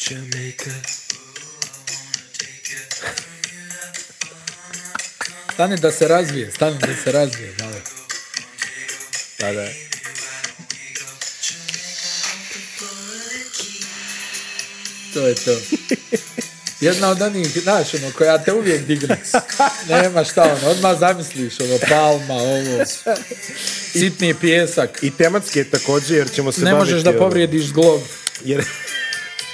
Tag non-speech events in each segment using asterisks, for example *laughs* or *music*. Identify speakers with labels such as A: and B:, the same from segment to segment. A: Jamaica.
B: Stani da se razvije, stani da se razvije, malo. Da, da. To je to. Jedna od onih, znaš, ono, koja te uvijek digne. Nema šta, ono, odmah zamisliš, ono, palma, ovo, sitni pjesak.
A: I tematski je također, jer ćemo se
B: Ne
A: baviti...
B: možeš da
A: ono,
B: povrijediš zglob,
A: Jer,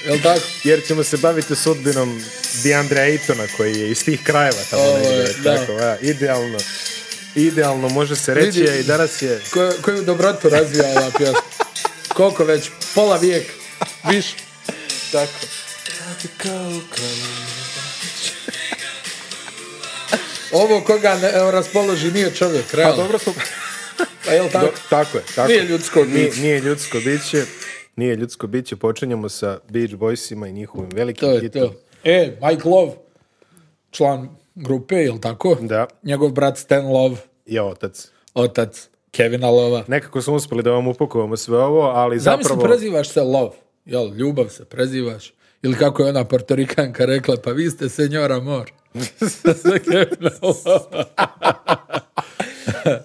B: jel tako?
A: jer ćemo se baviti sudbinom Deandre Aytona, koji je iz tih krajeva tamo
B: Ovo je,
A: negdje,
B: Ovaj, da.
A: Tako, a, idealno. Idealno može se reći,
B: Vidi.
A: a i danas je...
B: Koju, koju dobrotu razvija ova pjesma. Koliko već, pola vijek, više.
A: Tako.
B: Ovo koga ne, evo, raspoloži nije čovjek,
A: Pa
B: realno.
A: dobro smo...
B: Pa jel tako?
A: Do- tako je, tako.
B: Nije ljudsko
A: nije,
B: biće.
A: nije ljudsko biće. Nije ljudsko biće. Počinjemo sa Beach Boysima i njihovim velikim
B: To je
A: hitom.
B: to. E, Mike Love, član grupe, jel tako?
A: Da,
B: Njegov brat Stan Love,
A: je otac.
B: otac Kevina Lova.
A: Nekako smo uspjeli da vam upakovamo sve ovo, ali
B: Zamisli,
A: zapravo...
B: prezivaš se Love, jel, ljubav se prezivaš. Ili kako je ona portorikanka rekla, pa vi ste
A: *laughs*
B: senjora mor. Za Kevina Lova.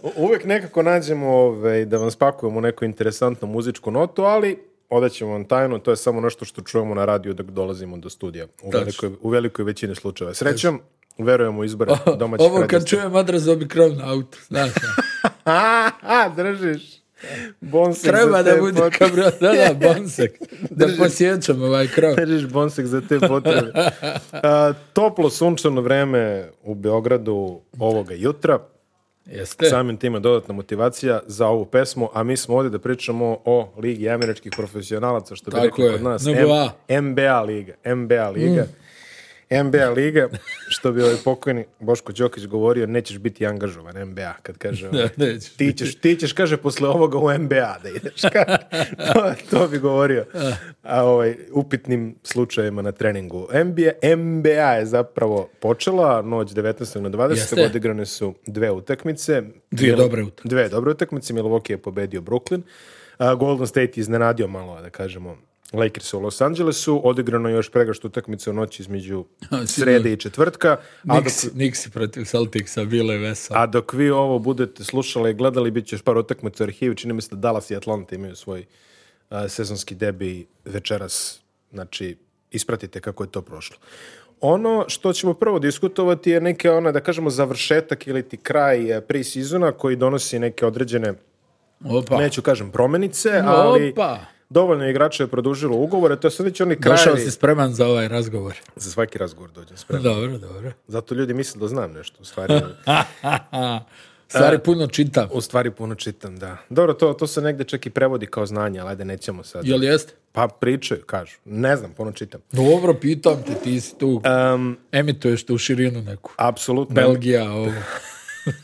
A: U- Uvijek nekako nađemo ovaj, da vam spakujemo neku interesantnu muzičku notu, ali odaćemo vam tajnu, to je samo nešto što čujemo na radiju dok dolazimo do studija. U
B: Tačno.
A: velikoj, u velikoj većini slučajeva. Srećom, verujemo u izbore domaćih
B: Ovo
A: *laughs*
B: kad
A: radiostanica.
B: čujem adres, bi krov na auto. Znaš, ono.
A: A, a, držiš. Bonsek *laughs* za
B: treba da
A: te
B: bude
A: potrebe.
B: kabrio, da,
A: *laughs*
B: da, bonsek. Da posjećam ovaj krov.
A: Držiš bonsek za te
B: *laughs*
A: potrebe. A, toplo sunčano vreme u Beogradu ovoga jutra.
B: Jeste.
A: Samim time dodatna motivacija za ovu pesmu, a mi smo ovdje da pričamo o Ligi američkih profesionalaca, što bi
B: Tako
A: rekli
B: je,
A: kod nas.
B: NBA.
A: M- MBA Liga. MBA Liga.
B: Mm.
A: MBA Liga, što bi ovaj pokojni Boško Đokić govorio, nećeš biti angažovan MBA, kad kaže
B: *laughs*
A: ovaj.
B: Da, nećeš
A: ti, ćeš, ti ćeš, kaže, posle ovoga u MBA da ideš. *laughs* to, to bi govorio a, ovaj, upitnim slučajevima na treningu. MBA, MBA je zapravo počela noć 19. na 20.
B: Jeste.
A: Odigrane su dve utakmice.
B: Dvije dobre utakmice.
A: Dve dobre utakmice. Milwaukee je pobedio Brooklyn. A, Golden State je iznenadio malo, da kažemo, Lakers u Los Angelesu. Odigrano je još pregašt utakmice u noći između
B: *laughs* sigurno.
A: srede i četvrtka. A dok,
B: Nixi, Nixi protiv Celticsa, bilo je veselo.
A: a dok vi ovo budete slušali i gledali, bit će još par utakmica u arhivu. Čini mi se da Dallas i Atlanta imaju svoj a, sezonski debi večeras. Znači, ispratite kako je to prošlo. Ono što ćemo prvo diskutovati je neke ona, da kažemo, završetak ili ti kraj e, pre-sezona koji donosi neke određene,
B: Opa,
A: neću kažem promenice, ali
B: Opa.
A: dovoljno je igrača je produžilo ugovore, to su već oni
B: došao
A: krajevi.
B: si spreman za ovaj razgovor.
A: Za svaki razgovor dođem spreman.
B: Dobro, dobro. *laughs*
A: Zato ljudi misle da znam nešto, u *laughs* stvari. E,
B: Stvari puno čitam.
A: U stvari puno čitam, da. Dobro, to, to se negdje čak i prevodi kao znanje, ali ajde, nećemo sad.
B: Jel jeste?
A: Pa pričaju, kažu. Ne znam, puno čitam.
B: Dobro, pitam te, ti si tu,
A: Em,
B: emituješ tu širinu neku.
A: apsolutno.
B: Belgija, ovo.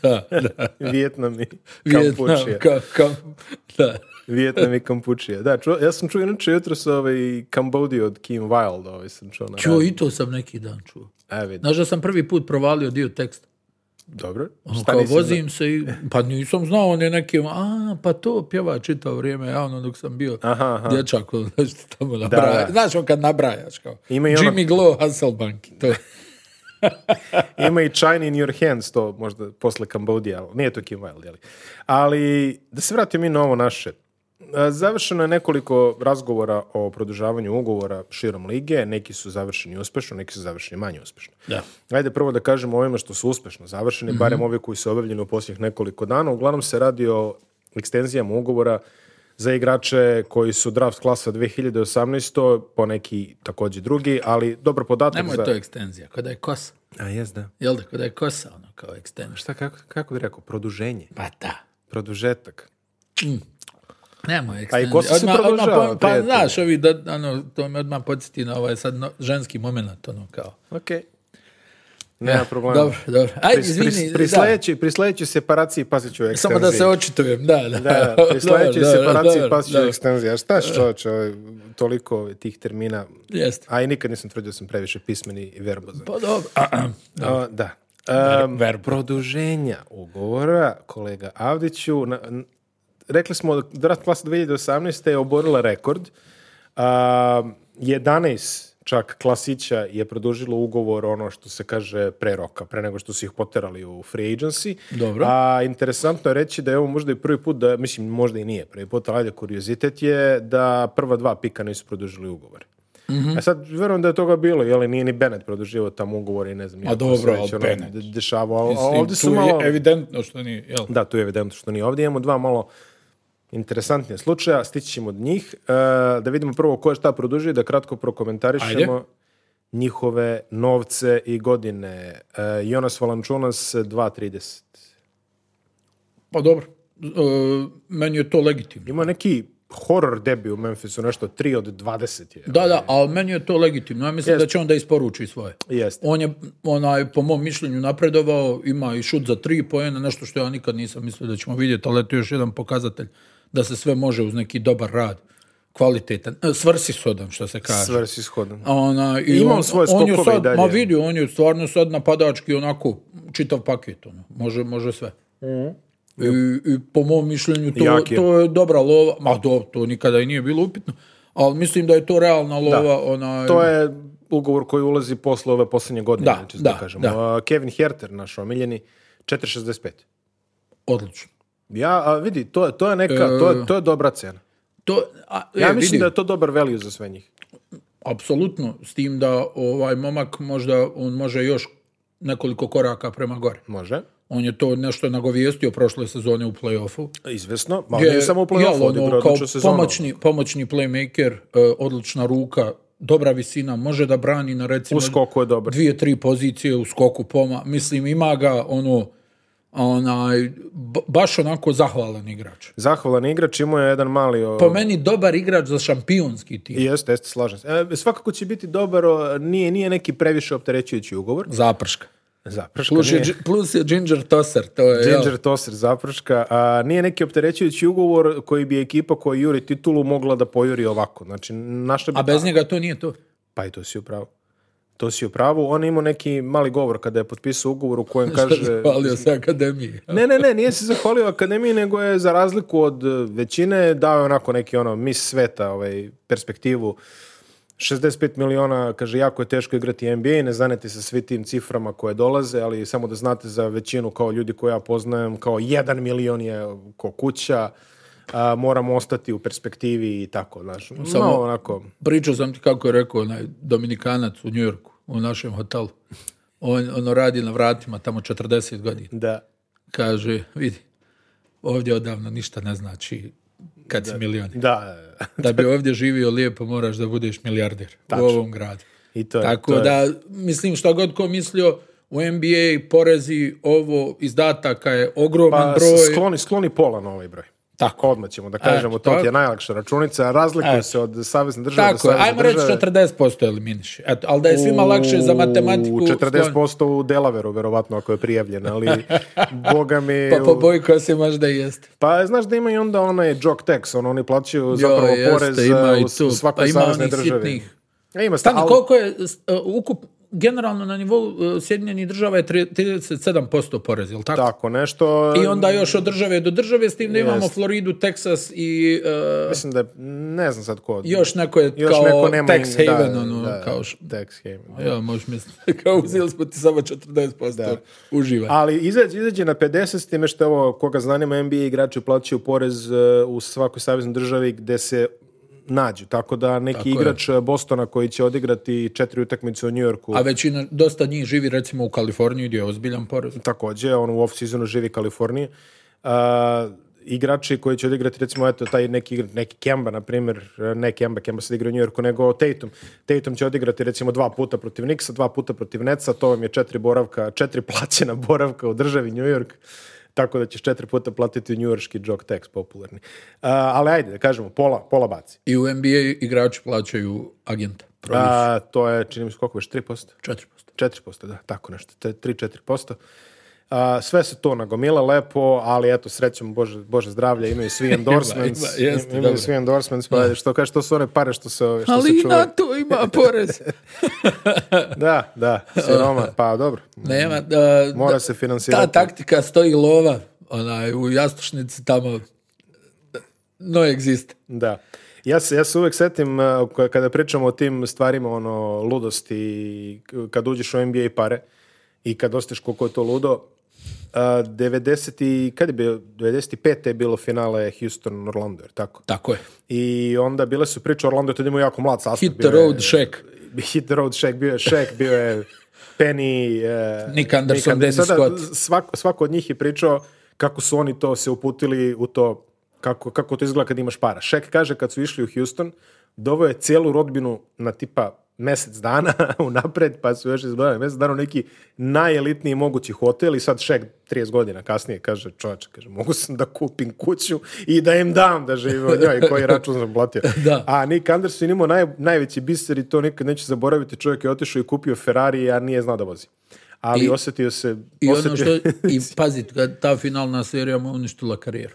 B: da, da.
A: *laughs* Vijetnam i
B: *laughs* Vijetnam,
A: Kampučija.
B: ka, kam- *laughs* da.
A: Vijetnam i Kampučija. Da, čuo- ja sam čuo inače jutro sa ovaj Kambodiju od Kim Wilde, ovaj sam čuo na
B: Čuo,
A: radiju.
B: i to sam neki dan čuo.
A: E, vidi.
B: Znaš da sam prvi put provalio dio teksta.
A: Dobro.
B: Ono,
A: Šta
B: kao
A: nisi znao?
B: vozim se i, pa nisam znao, on je neki, a, pa to pjeva čitao vrijeme, ja ono dok sam bio
A: Aha, aha.
B: dječak, ono, nešto tamo nabraja.
A: da.
B: Znaš, on kad nabrajaš, kao,
A: Ima i ono-
B: Jimmy Glow, Hasselbank, to je.
A: Ima i China in your hands, to možda posle Kambodije, ali nije to Kim Wilde, jeli. Ali da se vratimo mi na ovo naše. E, Završeno je nekoliko razgovora o produžavanju ugovora širom lige, neki su završeni uspešno, neki su završeni manje uspešno.
B: Da.
A: Ajde prvo *laughs* da kažemo ovima što su uspešno završeni, barem ovi koji su objavljeni u posljednjih nekoliko dana. Uglavnom se radi o ekstenzijama ugovora za igrače koji su draft klasa 2018, po neki također drugi, ali dobar podatak
B: Nemoj
A: za...
B: to ekstenzija, kada je kosa.
A: A jes, da.
B: Jel da, kada je kosa, ono, kao ekstenzija.
A: Šta, kako, kako bi rekao? Produženje.
B: Pa da.
A: Produžetak.
B: Nemoj ekstenzija.
A: kosa Pa se produžava,
B: pa- pa,
A: prijatelju.
B: znaš, ovi, da, ono, to me odmah podsjeti na ovaj sad no- ženski moment, ono, kao.
A: Ok. Nema
B: Eh,
A: problema.
B: Dobro, dobro. Ajde, izvini,
A: pri, pri,
B: da.
A: sledećoj- pri sledećoj separaciji pasit ću ekstenziji.
B: Samo da se očitujem, da, da.
A: Da, da, pri sledećoj
B: *laughs* Dobro, dobro,
A: separaciji
B: dobro,
A: pasit pa ću
B: dobro.
A: ekstenziji. A šta što toliko ovaj, tih termina.
B: Jeste.
A: A i nikad nisam trudio da sam previše pismeni i verbozan.
B: Pa dobro.
A: Da. da. Em,
B: verbozan.
A: produženja ugovora, kolega Avdiću, na- n- rekli smo da draft klasa 2018. je oborila rekord. A, 11 čak Klasića je produžilo ugovor ono što se kaže pre roka, pre nego što su ih poterali u free agency.
B: Dobro.
A: A interesantno je reći da je ovo možda i prvi put, da, mislim možda i nije prvi put, ali ajde kuriozitet je da prva dva pika nisu produžili ugovor. A sad, verujem da je toga bilo, jeli, nije ni Bennett produžio tam ugovor i ne znam. nije ko se
B: dobro,
A: već,
B: ali
A: ono,
B: Bennett.
A: de- dešavao, a- a
B: Mislim,
A: ovdje su
B: tu je
A: malo...
B: evidentno što nije, jel?
A: Da, tu je evidentno što nije ovdje. Imamo dva malo interesantnija slučaja, stići ćemo od njih. E, da vidimo prvo ko je šta produžio i da kratko prokomentarišemo
B: Ajde.
A: njihove novce i godine. E, Jonas Valančunas 2.30.
B: Pa dobro, E, meni je to legitimno.
A: Ima neki horror debi u Memphisu, nešto 3 od 20 je.
B: Da, da, ali meni je to legitimno. Ja mislim da će on da isporuči svoje.
A: Jeste.
B: On je, onaj, po mom mišljenju, napredovao, ima i šut za tri pojena, nešto što ja nikad nisam mislio da ćemo vidjeti, ali to je još jedan pokazatelj da se sve može uz neki dobar rad, kvalitetan, e, svrsishodan, što se kaže.
A: Svrs ishodan.
B: A Ona, i
A: Ima on
B: on,
A: svoje
B: on je
A: skokove
B: sad,
A: i dalje.
B: Ma vidi, on je stvarno sad napadački onako čitav paket. Ono. Može, može sve. I, i po mom mišljenju to,
A: Mhm. Jak je.
B: to je dobra lova. Ma do, to nikada i nije bilo upitno. Ali mislim da je to realna lova. Ona,
A: To je ugovor koji ulazi posle ove posljednje godine,
B: Da,
A: čisto da,
B: da,
A: kažemo.
B: da.
A: A, Kevin Herter, naš omiljeni, 4.65.
B: Odlično.
A: Ja, a vidi, to, je- to je neka, to, je- to je dobra cena.
B: To, a,
A: Ja
B: e,
A: mislim
B: vidi,
A: da je to dobar value za sve njih.
B: Apsolutno. S tim da ovaj momak možda on može još nekoliko koraka prema gore.
A: Može.
B: On je to nešto nagovijestio prošle sezone u play-offu.
A: Izvesno. Ma on
B: Gdje
A: je samo u
B: jel,
A: play-offu
B: ono,
A: odigrao
B: kao
A: odličnu sezonu.
B: pomoćni, pomoćni playmaker, e, odlična ruka, dobra visina, može da brani na recimo
A: U skoku je dobar.
B: dvije, tri pozicije u skoku poma. Mislim, ima ga ono, onaj, ba- baš onako zahvalan igrač.
A: Zahvalan igrač, imao je jedan mali... o-
B: Po meni dobar igrač za šampionski tim.
A: Jeste, jeste, slažem se. E, svakako će biti dobar, o, nije, nije neki previše opterećujući ugovor.
B: Zaprška.
A: Zapraška
B: Plus je,
A: nije.
B: dž- plus je Ginger Tosser, to je... jel,
A: Ginger Toser zapraška. A, nije neki opterećujući ugovor koji bi ekipa koja juri titulu mogla da pojuri ovako. Znači, našla bi...
B: A bez njega to nije to.
A: Pa i to si u pravu. To si u pravu. On je imao neki mali govor kada je potpisao ugovor u kojem
B: *laughs*
A: kaže...
B: Hvalio se akademije.
A: Ne, ne, ne, nije se zahvalio akademiji, nego je za razliku od e, većine dao je onako neki ono mis sveta, ovaj, perspektivu. 65 miliona, kaže, jako je teško igrati NBA, ne zanete se svi tim ciframa koje dolaze, ali samo da znate za većinu kao ljudi koje ja poznajem, kao jedan milion je e, ko kuća, a, moramo ostati u perspektivi i tako, znaš. Samo...
B: Samo-
A: onako,
B: Pričao sam ti kako je rekao onaj Dominikanac u Njujorku, u našem hotelu. On ono radi na vratima tamo 40 godina.
A: da.
B: Kaže, vidi, ovdje odavno ništa ne znači kad si milioner.
A: Da, e.
B: Da bi ovdje živio lijepo moraš da budeš milijarder u ovom gradu.
A: i to je.
B: Tako
A: to je.
B: da, mislim šta god ko mislio, u NBA porezi ovo izdataka je ogroman
A: Pa,
B: broj.
A: skloni, skloni pola na ovaj broj.
B: Tako.
A: Odmah ćemo da kažemo, to
B: tako.
A: ti je najlakša računica, razlikuje se od savezne države
B: Tako
A: do
B: je,
A: savezne
B: ajmo reći
A: države.
B: 40% eliminiš. Eto, ali da je svima lakše za matematiku...
A: U
B: skloni-
A: 40% u Delaveru, verovatno, ako je prijavljen,
B: *laughs*
A: ali boga mi...
B: Pa po
A: u-
B: boji koja se možda i jeste.
A: Pa znaš da ima i onda onaj jog tax, ono, oni plaćaju zapravo
B: jeste,
A: porez
B: ima
A: uh,
B: i
A: u
B: tu.
A: svakoj
B: Pa ima
A: saveznoj
B: onih
A: državi.
B: sitnih.
A: E, ima sta-
B: Stani,
A: ali-
B: koliko je s- e, ukup, generalno na nivou e, Sjedinjenih država je tri- 37% porez, jel tako?
A: Tako, nešto...
B: I onda još od države do države, s tim da imamo
A: Jest.
B: Floridu, Texas i e,
A: Mislim da je, ne znam sad ko...
B: još neko je
A: Još
B: kao
A: neko nema...
B: tax
A: da,
B: haven, ono,
A: da,
B: kao š-
A: Tax haven, da.
B: Ja, možeš misliti, *laughs* kao uzeli smo ti samo 40%, uživaj.
A: Ali izađe, izađe na 50 s time što evo, koga zanima NBA igrači plaćaju porez e, u svakoj saveznoj državi gde se nađu. Tako da neki
B: je.
A: igrač e, Bostona koji će odigrati četiri utakmice u Njujorku
B: A većina, dosta njih živi recimo u Kaliforniji gdje je ozbiljan porez.
A: takođe, on u off-seasonu živi Kaliforniji. A, igrači koji će odigrati recimo eto taj neki igrač, neki Kemba na primjer e, ne Kemba, Kemba se igra u Njujorku nego Tatum. Tatum će odigrati recimo dva puta protiv Nixa, dva puta protiv Netsa, to vam je četiri boravka, četiri *laughs* plaćena boravka u državi New York. Tako da ćeš četiri puta platiti njujorski jog tax popularni. A, ali ajde, da kažemo, pola, pola baci.
B: I u NBA igrači plaćaju agenta. Proviziju,
A: A, Uh, to je, čini mi se, koliko već, 3%?
B: 4%.
A: 4%, da, tako nešto, te 3-4%. A, sve se to nagomila lepo, ali eto, srećom, Bože, Bože zdravlja, imaju
B: *laughs*
A: svi endorsements,
B: Ima, ima, jeste,
A: imaju
B: dobro.
A: svi endorsements, pa što kaže, to su one pare što se, ove- što
B: Ali
A: se
B: i
A: čuvaju.
B: na to ima porez.
A: *laughs* Da, da, siroma, pa dobro.
B: Nema, da,
A: Mora
B: da-
A: se
B: ta
A: finansirati.
B: taktika stoji lova, onaj, u jastušnici tamo, no exist.
A: Da. Ja se, ja se uvek setim, uh, k- kada pričamo o tim stvarima, ono, ludosti, i k- kad uđeš u NBA pare i kad osteš koliko je to ludo, uh, 90 i, kad je bio, 95. je bilo finale Houston-Orlando, jer tako?
B: Tako je.
A: I onda bile su priče, Orlando je tada imao jako mlad sastav.
B: Hit the
A: bio je-
B: road, Shaq.
A: Hit the road, Shaq, bio je Shaq, bio
B: *laughs*
A: je Penny, eh,
B: Nick Anderson, Dennis
A: Sada
B: Scott.
A: Svako, svako od njih je pričao kako su oni to se uputili u to, kako, kako to izgleda kad imaš para. Shaq kaže kad su išli u Houston, doveo je cijelu rodbinu na tipa mjesec dana *laughs* unapred, pa su još izgledali mjesec dana u neki najelitniji mogući hotel i sad Shaq 30 godina kasnije kaže čovječe, kaže, mogu sam da kupim kuću i da im dam da živim od njoj i koji račun sam platio.
B: *laughs* Da.
A: A Nick Anderson imao naj, najveći biser i to nikad neće zaboraviti. Čovjek je otišao i kupio Ferrari, a nije znao da vozi. Ali
B: I-
A: osjetio se...
B: I ono
A: osjetio-
B: što,
A: *laughs*
B: i pazit, kad ta finalna serija mu uništila karijeru.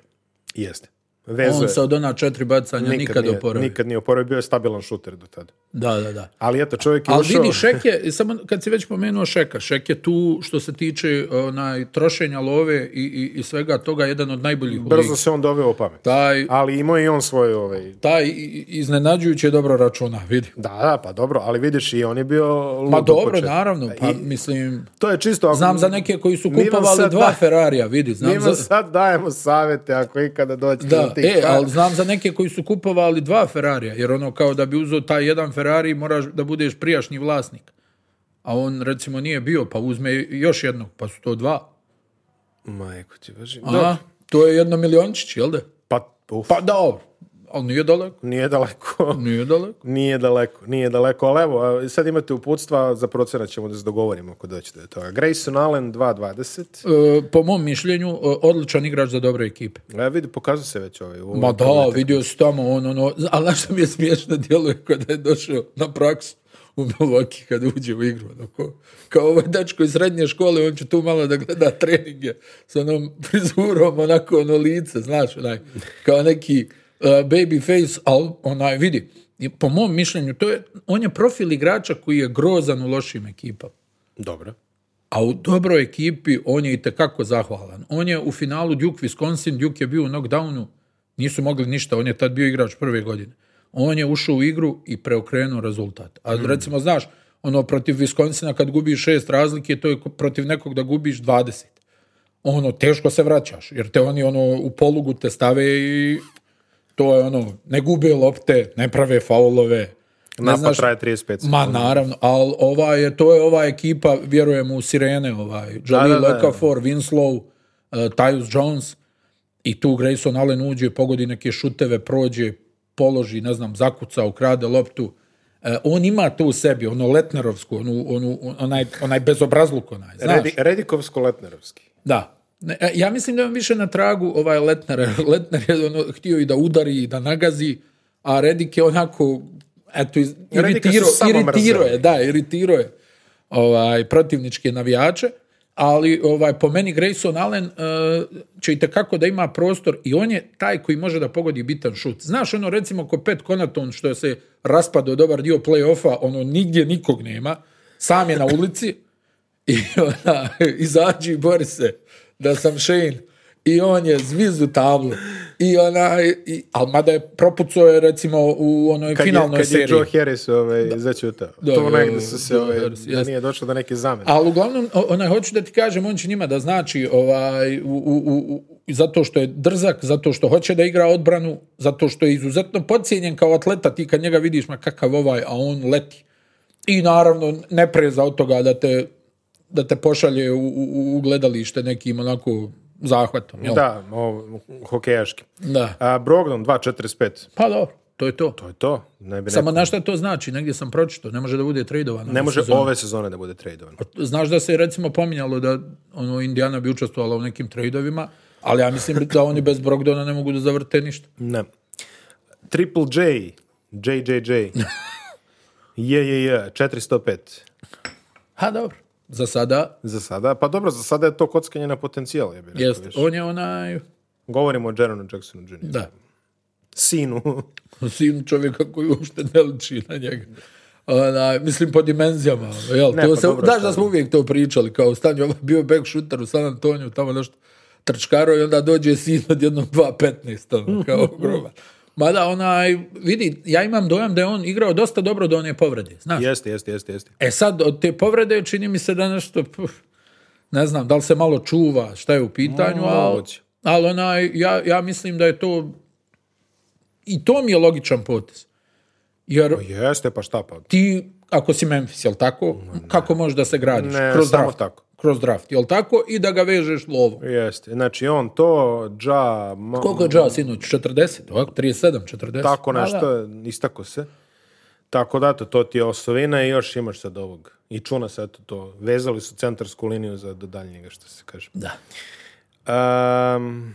A: Jeste. Vezo
B: On
A: je.
B: se od ona četiri bacanja nikad,
A: nije,
B: oporavio.
A: E, Nikad nije oporavio, bio je stabilan šuter do tada.
B: Da, da, da.
A: Ali eto, čovjek je
B: Ali
A: ušao...
B: vidi, Šek je, samo kad si već pomenuo Šeka, Šek je tu što se tiče onaj, trošenja love i, i, i svega toga jedan od najboljih u
A: Brzo
B: ligi.
A: se on doveo u pamet.
B: Taj,
A: Ali imao je i on svoje... Ovaj...
B: taj i- iznenađujuće dobro računa, vidi.
A: Da, da, pa dobro, ali vidiš i on je bio... lud
B: Pa
A: u
B: dobro,
A: početku.
B: naravno, pa
A: I-
B: mislim,
A: To je čisto... ako-
B: znam za neke koji su
A: Mi vam
B: kupovali
A: sad
B: dva
A: da-
B: Ferrarija, vidi,
A: Mi
B: znam
A: vam
B: za...
A: sad dajemo savete ako ikada dođete do
B: Da,
A: tih
B: e,
A: para.
B: ali znam za neke koji su kupovali dva Ferrarija, jer ono kao da bi uzeo taj jedan Ferrari moraš da budeš prijašnji vlasnik. A on recimo nije bio, pa uzme još jednog, pa su to dva.
A: Majko ti važi.
B: Aha, to je jedno miliončić, jel da?
A: Pa, uf,
B: Pa da, ali nije daleko,
A: nije daleko. *laughs*
B: nije daleko.
A: Nije daleko, nije daleko, ali evo, a sad imate uputstva, za procenat ćemo da se dogovorimo ako dođete do toga. Grayson Allen 2.20,
B: E, po mom mišljenju, e, odličan igrač za dobre ekipe.
A: e, vidi, pokazuje se već ovaj. u ovom
B: Ma da,
A: tabletu.
B: vidio si tamo on, ono, ali znaš što mi je smiješno djeluje kada je došao na praksu u Milwaukee kada uđe u igru. Ono, ko- kao ovaj dačko iz srednje škole, on će tu malo da gleda treninge s onom *laughs* frizurom, onako ono lice, znaš, onaj, kao neki uh, baby face, ali onaj, vidi, i po mom mišljenju, to je, on je profil igrača koji je grozan u lošim ekipama.
A: Dobro.
B: A u dobroj ekipi on je itekako zahvalan. On je u finalu Duke Wisconsin, Duke je bio u knockdownu, nisu mogli ništa, on je tad bio igrač prve godine. On je ušao u igru i preokrenuo rezultat. A recimo, znaš, ono protiv Wisconsina kad gubiš šest razlike, to je ko- protiv nekog da gubiš 20. Ono, teško se vraćaš, jer te oni ono, u polugu te stave i to je ono, ne gube lopte, ne prave faulove. ne
A: Napad
B: znaš-
A: traje 35 sekundi.
B: Ma naravno, ali ova je, to je ova ekipa, vjerujem u Sirene, ovaj, Jalil
A: da, da.
B: Okafor, Winslow, uh, Tyus Jones i tu Grayson Allen uđe, pogodi neke šuteve, prođe, položi, ne znam, zakuca, ukrade loptu. E, on ima to u sebi, ono letnerovsku, onu, onu, onaj, onaj bezobrazluk, onaj, znaš?
A: Redi, Redikovsko-Letnerovski.
B: Da. Ne, e, ja mislim da je on više na tragu ovaj Letner. *laughs* Letner je ono, htio i da udari i da nagazi, a Redik je onako, eto, iz-
A: Redika su
B: iritirao,
A: samo
B: iritirao je,
A: mrzeli.
B: da, iritirao je ovaj, protivničke navijače, ali ovaj, po meni Grayson Allen e, će i da ima prostor i on je taj koji može da pogodi bitan šut. Znaš ono recimo ko Pet Konaton što se raspadao dobar dio play-offa, ono nigdje nikog nema, sam je na ulici, i ona, izađi i bori se da sam Shane. I on je zvizu tablu. I ona, i, ali mada je propucao je recimo u onoj
A: Kad je,
B: finalnoj
A: kad je
B: seriji.
A: Joe Harris ovaj, začutao.
B: Da,
A: to
B: da,
A: negdje su se,
B: Joe
A: ovaj,
B: Harris,
A: da
B: jeste.
A: nije došlo do neke zamene.
B: Ali uglavnom, o- onaj, hoću da ti kažem, on će njima da znači ovaj, u, u- u- u- zato što je drzak, zato što hoće da igra odbranu, zato što je izuzetno podcijenjen kao atleta, ti kad njega vidiš, ma kakav ovaj, a on leti. I naravno, ne preza od toga da te, da te pošalje u, u- u gledalište nekim onako zahvatom. jel?
A: Da, o, hokejaški.
B: Da.
A: A, Brogdon 2.45.
B: Pa dobro, to je to.
A: To je to. Ne bi ne-
B: Samo na šta to znači, negdje sam pročito, ne može da bude tradovan.
A: ne
B: ove
A: može
B: sezone.
A: ove sezone da bude tradovan.
B: Znaš da se je recimo pominjalo da ono, Indiana bi učestvovala u nekim tradeovima, ali ja mislim da oni bez Brogdona ne mogu da zavrte ništa.
A: Ne. Triple J,
B: *laughs*
A: JJJ. Je, je, je, 405
B: Ha, dobro. Za sada,
A: za sada. Pa dobro, za sada je to kockanje na potencijal. Ja bih rekao
B: jest,
A: više.
B: on je onaj,
A: Govorimo o Jeronu Jacksonu Jr.
B: da,
A: Sinu.
B: sin čovjeka koji uopšte ne liči na njega. Onaj, mislim po dimenzijama, jel?
A: Ne,
B: to
A: pa
B: se,
A: dobro,
B: znaš
A: šta
B: da smo uvijek to pričali, kao stanju, ovaj bio je back shooter u
A: *laughs*
B: San Antoniju, tamo nešto trčkaro i onda dođe sin od jednog 2.15, ono, kao groba. Mada onaj, vidi, ja imam dojam da je on igrao dosta dobro do one povrede, znaš.
A: *laughs* Jeste, jeste, jeste, jeste.
B: E sad, od te povrede čini mi se da nešto, pf, ne znam, da li se malo čuva, šta je u pitanju, ali,
A: moguće.
B: ali onaj, ja, ja mislim da je to, i to mi je logičan potez. Jer
A: Jeste, pa šta pa.
B: ti, ako si Memphis, jel tako, kako možeš da se gradiš?
A: Ne,
B: Kroz
A: samo
B: draft.
A: tako.
B: Kroz draft, jel tako? I da ga vežeš lovom.
A: Jeste. Znači, on to, dža... ma-
B: Koliko je Džao sinoć? 40, ovako? 37, 40?
A: Tako
B: Ma da.
A: nešto, istako se. Tako da, to, to ti je osovina i još imaš sad ovog. I čuna se, eto to. Vezali su centarsku liniju za do daljnjega, što se kaže.
B: Da.
A: Um,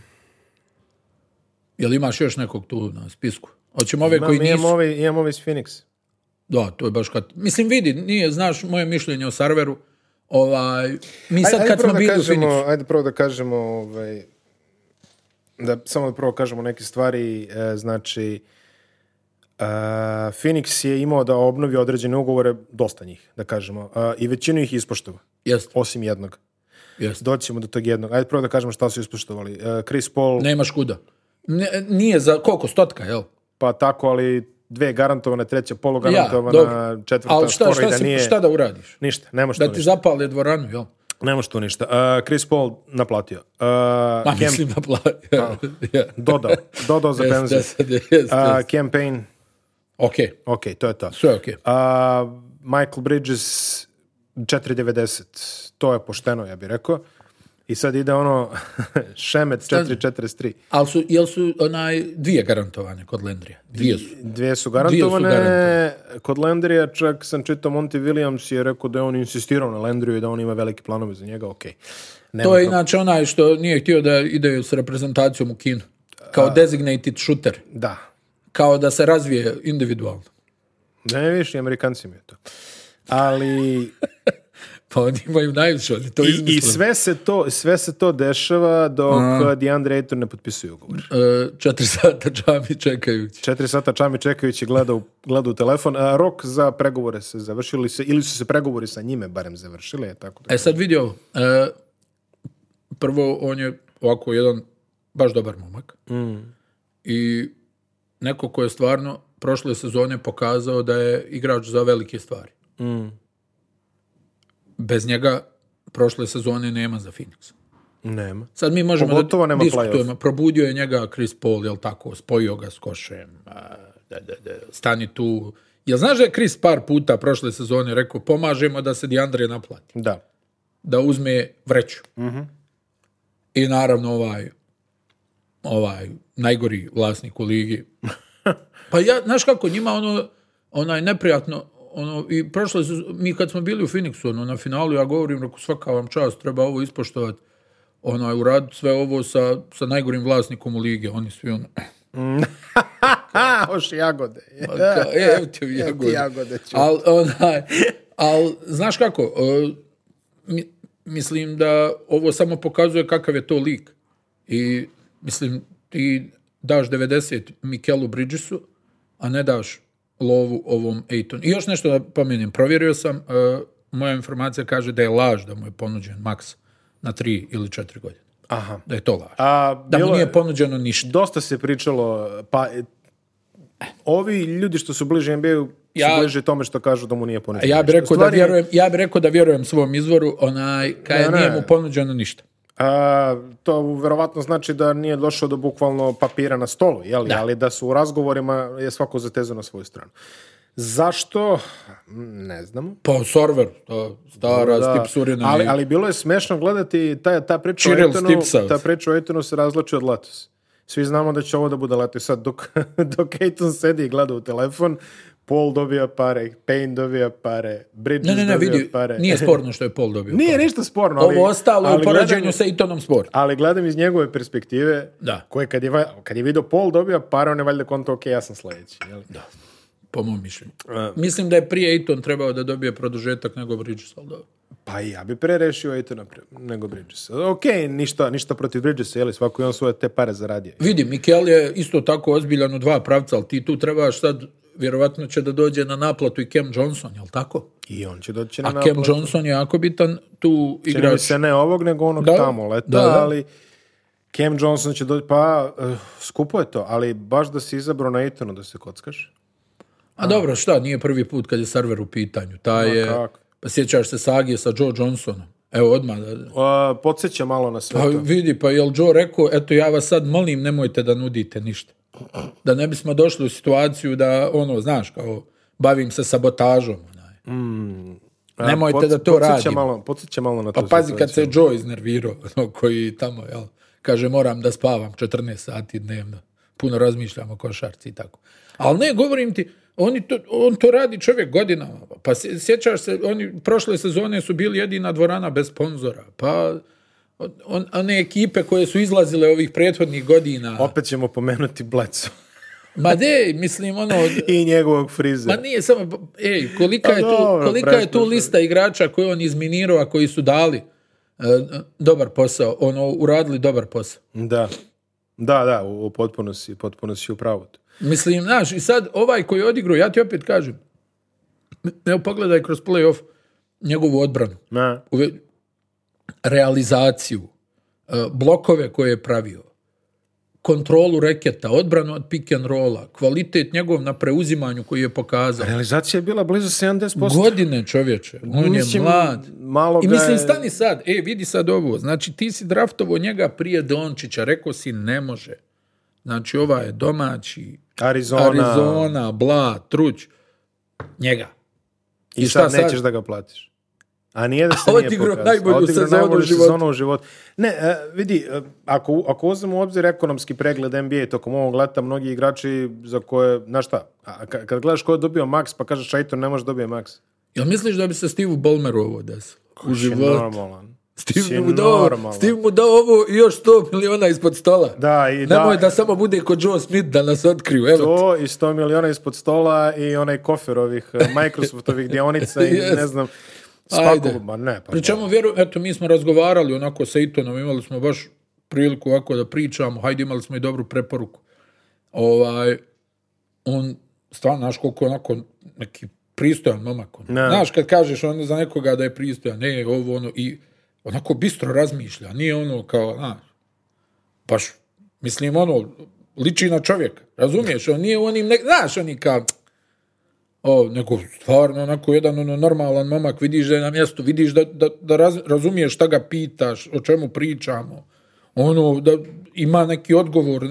B: Jel imaš još nekog tu na spisku? Hoćemo ove koji
A: imam,
B: nisu?
A: ovaj, imam ovaj iz Phoenix.
B: Da, to je baš kad... Mislim, vidi, nije, znaš, moje mišljenje o serveru, ovaj... Mi sad kad
A: prvo
B: smo
A: da
B: bili u
A: kažemo,
B: Phoenixu...
A: Ajde prvo da kažemo, ovaj, da, samo da prvo kažemo neke stvari, e, znači, e, Phoenix je imao da obnovi određene ugovore, dosta njih, da kažemo, e, i većinu ih ispoštova,
B: Jeste,
A: osim jednog.
B: jeste.
A: Doći ćemo do tog jednog. Ajde prvo da kažemo šta su ispoštovali. E, Chris Paul,
B: Nemaš kuda. Ne- nije za... Koliko? Stotka, jel?
A: pa tako, ali dve garantovane, treća polugarantovana,
B: dobro.
A: četvrta
B: Ali šta,
A: skoro i
B: šta,
A: da
B: si-
A: nije...
B: šta da uradiš?
A: Ništa, nema što
B: Da ti zapale dvoranu, jel?
A: Nema što ništa. E, Chris Paul naplatio. E,
B: Pa
A: Kemp-
B: mislim da
A: *laughs*
B: pla- Ja.
A: Dodao. Dodao za
B: *laughs* Jeste,
A: penziju.
B: jeste, jeste.
A: A, Uh, campaign.
B: Ok,
A: Ok, to je to.
B: sve ok.
A: A, Michael Bridges 4.90. To je pošteno, ja bih rekao. I sad ide ono *laughs* Šemec 4.43.
B: Ali su, jel su onaj, dvije garantovane kod Lendrija? Dvije su.
A: Dvije su
B: Dvije su
A: garantovane. Kod Landrija čak sam čitao Monty Williams je rekao da je on insistirao na Landriju i da on ima velike planove za njega. Ok. Nema
B: To je
A: pro-
B: inače onaj što nije htio da ide s reprezentacijom u Kinu. Kao designated shooter.
A: Da.
B: Kao da se razvije individualno.
A: Ne viš, i Amerikanci mi je to.
B: *laughs*
A: Ali
B: Pa oni imaju najviše, oni to
A: I, i
B: izmislili.
A: sve se to sve se to dešava dok uh, DeAndre Ayton ne potpisuje ugovor.
B: E, četiri sata džami čekajući.
A: Četiri sata čami čekajući gleda u, gleda u telefon. A, rok za pregovore se završili se, ili su se pregovori sa njime barem završili. je Tako da.
B: E sad vidio, ovo. E, prvo on je ovako jedan baš dobar momak.
A: Mm.
B: I neko ko je stvarno prošle sezone pokazao da je igrač za velike stvari.
A: Mm.
B: Bez njega prošle sezone nema za Phoenix.
A: Nema.
B: Sad mi možemo
A: Pogotovo
B: da
A: nema
B: diskutujemo. Probudio je njega Chris Paul, jel tako, spojio ga s košem, a, da, da, da, stani tu. Jel znaš da je Chris par puta prošle sezone rekao, pomažemo da se Diandre naplati,
A: Da.
B: da uzme vreću. I naravno ovaj, ovaj najgori vlasnik u ligi. Pa ja, znaš kako, njima ono, onaj neprijatno, ono, i prošle su, mi kad smo bili u Phoenixu, ono, na finalu, ja govorim, reku, svaka vam čast, treba ovo ispoštovati, onaj, uraditi sve ovo sa, sa najgorim vlasnikom u lige, oni svi, ono,
A: A, hoš jagode.
B: kao, e, evo ti ovi jagode.
A: jagode, ću.
B: Al, onaj, al, znaš kako, e, mi- mislim da ovo samo pokazuje kakav je to lik. I, mislim, ti daš 90 Mikelu Bridgesu, a ne daš lovu ovom Ejtonu. I još nešto da pomenem, provjerio sam, e, moja informacija kaže da je laž da mu je ponuđen maks na 3 ili 4 godine.
A: Aha.
B: Da je to laž.
A: A,
B: da mu
A: bilo je-
B: nije ponuđeno ništa.
A: Dosta se pričalo, pa e, ovi ljudi što su bliže NBA-u
B: Ja-
A: su bliže tome što kažu da mu nije poništeno.
B: Ja bih
A: ništa.
B: rekao
A: Stvar
B: da
A: E, je-
B: vjerujem, ja bih rekao da vjerujem svom izvoru, onaj kad
A: Ne, ne.
B: nije mu ponuđeno ništa.
A: A, to verovatno znači da nije došao do bukvalno papira na stolu, jeli? ali da su u razgovorima je svako zatezao na svoju stranu. Zašto? Mm, Ne znamo.
B: Pa server, to stara
A: Da.
B: Stipsurina.
A: ali,
B: i-
A: ali bilo je smešno gledati ta, ta priča o
B: Čiril
A: Ejtonu-
B: Stipsa.
A: ta priča o Ejtonu se razlači od Latos. Svi znamo da će ovo da bude Latos. Sad dok, *laughs* dok Ejton sedi i gleda u telefon, Paul dobija pare, Payne dobija pare, Bridges
B: ne, ne, ne,
A: dobija
B: vidi,
A: pare. E, *laughs*
B: nije sporno što je Paul dobio. Pa,
A: Nije ništa sporno. ali-
B: Ovo ostalo je u
A: ali gledam-
B: poređenju sa Itonom sport.
A: ali gledam iz njegove perspektive,
B: Da.
A: koje kad je, va- kad je vidio Paul dobio pare, on je valjda konto, ok, ja sam sledeći. Jel?
B: Po mom mišljenju. Mislim da je prije Iton trebao da dobije produžetak nego Bridges, ali dobro.
A: Pa i ja bi pre rešio Aitona pre- nego Bridges. Ok, ništa, ništa protiv Bridgesa, jeli, svako je on svoje te pare zaradio.
B: Vidi, Mikel je isto tako ozbiljan u dva pravca, ali ti tu trebaš sad, vjerovatno će da dođe na naplatu i Cam Johnson, jel tako?
A: I on će doći na
B: A Cam
A: naplatu.
B: Johnson je jako bitan tu
A: Čini mi
B: igrač.
A: se ne ovog, nego onog
B: Da,
A: tamo leta,
B: da, da.
A: ali Cam Johnson će doći, pa eh, skupo je to, ali baš da si izabrao na Etonu da se kockaš.
B: A dobro, šta, nije prvi put kad je server u pitanju. Ta je,
A: kako.
B: pa sjećaš se Sagije sa Joe Johnsonom. Evo, odmah. da-
A: A, Eh, podsjeća malo na sve
B: Pa
A: to.
B: vidi, pa jel Joe rekao, eto ja vas sad molim, nemojte da nudite ništa. Da ne bismo došli u situaciju da, ono, znaš, kao, bavim se sabotažom. onaj. Mm.
A: A,
B: Pa, nemojte
A: Eh, pods-
B: da to
A: podsjeća
B: radimo.
A: Malo, podsjeća malo na
B: Pa
A: tu
B: pazi kad
A: situaciju.
B: se Joe iznervirao, *laughs* ono, koji tamo, jel, kaže moram da spavam 14 sati dnevno, puno razmišljam o košarci i tako. Ali ne, govorim ti, oni to, on to radi čovjek godinama, pa sje- sjećaš se, oni prošle sezone su bili jedina dvorana bez sponzora, pa on- on, one ekipe koje su izlazile ovih prethodnih godina,
A: Opet ćemo pomenuti Blecu
B: ma de, mislim, ono,
A: *laughs* i njegovog frize.
B: Ma Pa nije samo, ej, kolika je tu,
A: dobro,
B: kolika je tu
A: preskušno.
B: lista igrača koju on izminirao, a koji su dali e, dobar posao, ono, uradili dobar posao.
A: Da. Da, da, u, u potpuno si, potpuno si u pravu.
B: Mislim, znaš, i sad ovaj koji je odigrao, ja ti opet kažem, evo pogledaj kroz playoff njegovu odbranu,
A: Na,
B: uve- realizaciju, e, blokove koje je pravio, kontrolu reketa, odbranu od pick and rolla, kvalitet njegov na preuzimanju koji je pokazao.
A: realizacija je bila blizu 70%.
B: Godine čovječe, on je
A: Mislim,
B: mlad.
A: Malo
B: I
A: ga
B: mislim,
A: je-
B: stani sad, e, vidi sad ovo, znači ti si draftovo njega prije Dončića, rekao si ne može. Znači ova je domaći,
A: Arizona.
B: Arizona, bla, truć, njega.
A: I
B: I šta
A: sad
B: sad?
A: nećeš da ga platiš. A nije da se
B: A
A: nije
B: odigrao
A: pokazao.
B: najbolju
A: A odigrao
B: sezonu
A: najbolju
B: u životu.
A: sezonu u životu. Ne, e, vidi, e, ako, ako uzmemo u obzir ekonomski pregled NBA tokom ovog leta, mnogi igrači za koje, znaš šta, a, ka- kad gledaš ko je dobio max, pa kažeš Aiton ne može dobije Znači, max.
B: Jel misliš da bi se Steve Ballmeru ovo desilo? U životu.
A: Normalan.
B: Steve
A: Si
B: mu, dao,
A: normalan.
B: Steve mu dao ovo i još 100 miliona ispod stola.
A: Da, i da,
B: Nemoj da samo bude kod Joe Smith da nas otkriju. Evo, ti.
A: to i 100 miliona ispod stola i onaj kofer ovih e,
B: *laughs*
A: Microsoftovih dionica i
B: Jest.
A: ne znam,
B: Ajde.
A: spakovo, ma ne, pa
B: Pri čemu vjerujem, eto, mi smo razgovarali onako sa Itonom, imali smo baš priliku ovako da pričamo, hajde imali smo i dobru preporuku. Ovaj, on, stvarno, znaš koliko je onako neki pristojan momak. ono.
A: Ne.
B: Znaš, kad kažeš on za nekoga da je pristojan, ne, ovo, ono, i onako bistro razmišlja, nije ono kao, znaš, baš, mislim, ono, liči na čovjeka, razumiješ, on nije u onim, ne, znaš, oni kao, o, nego stvarno onako jedan ono normalan momak, vidiš da je na mjestu, vidiš da, da, da raz- razumiješ šta ga pitaš, o čemu pričamo, ono, da ima neki odgovor,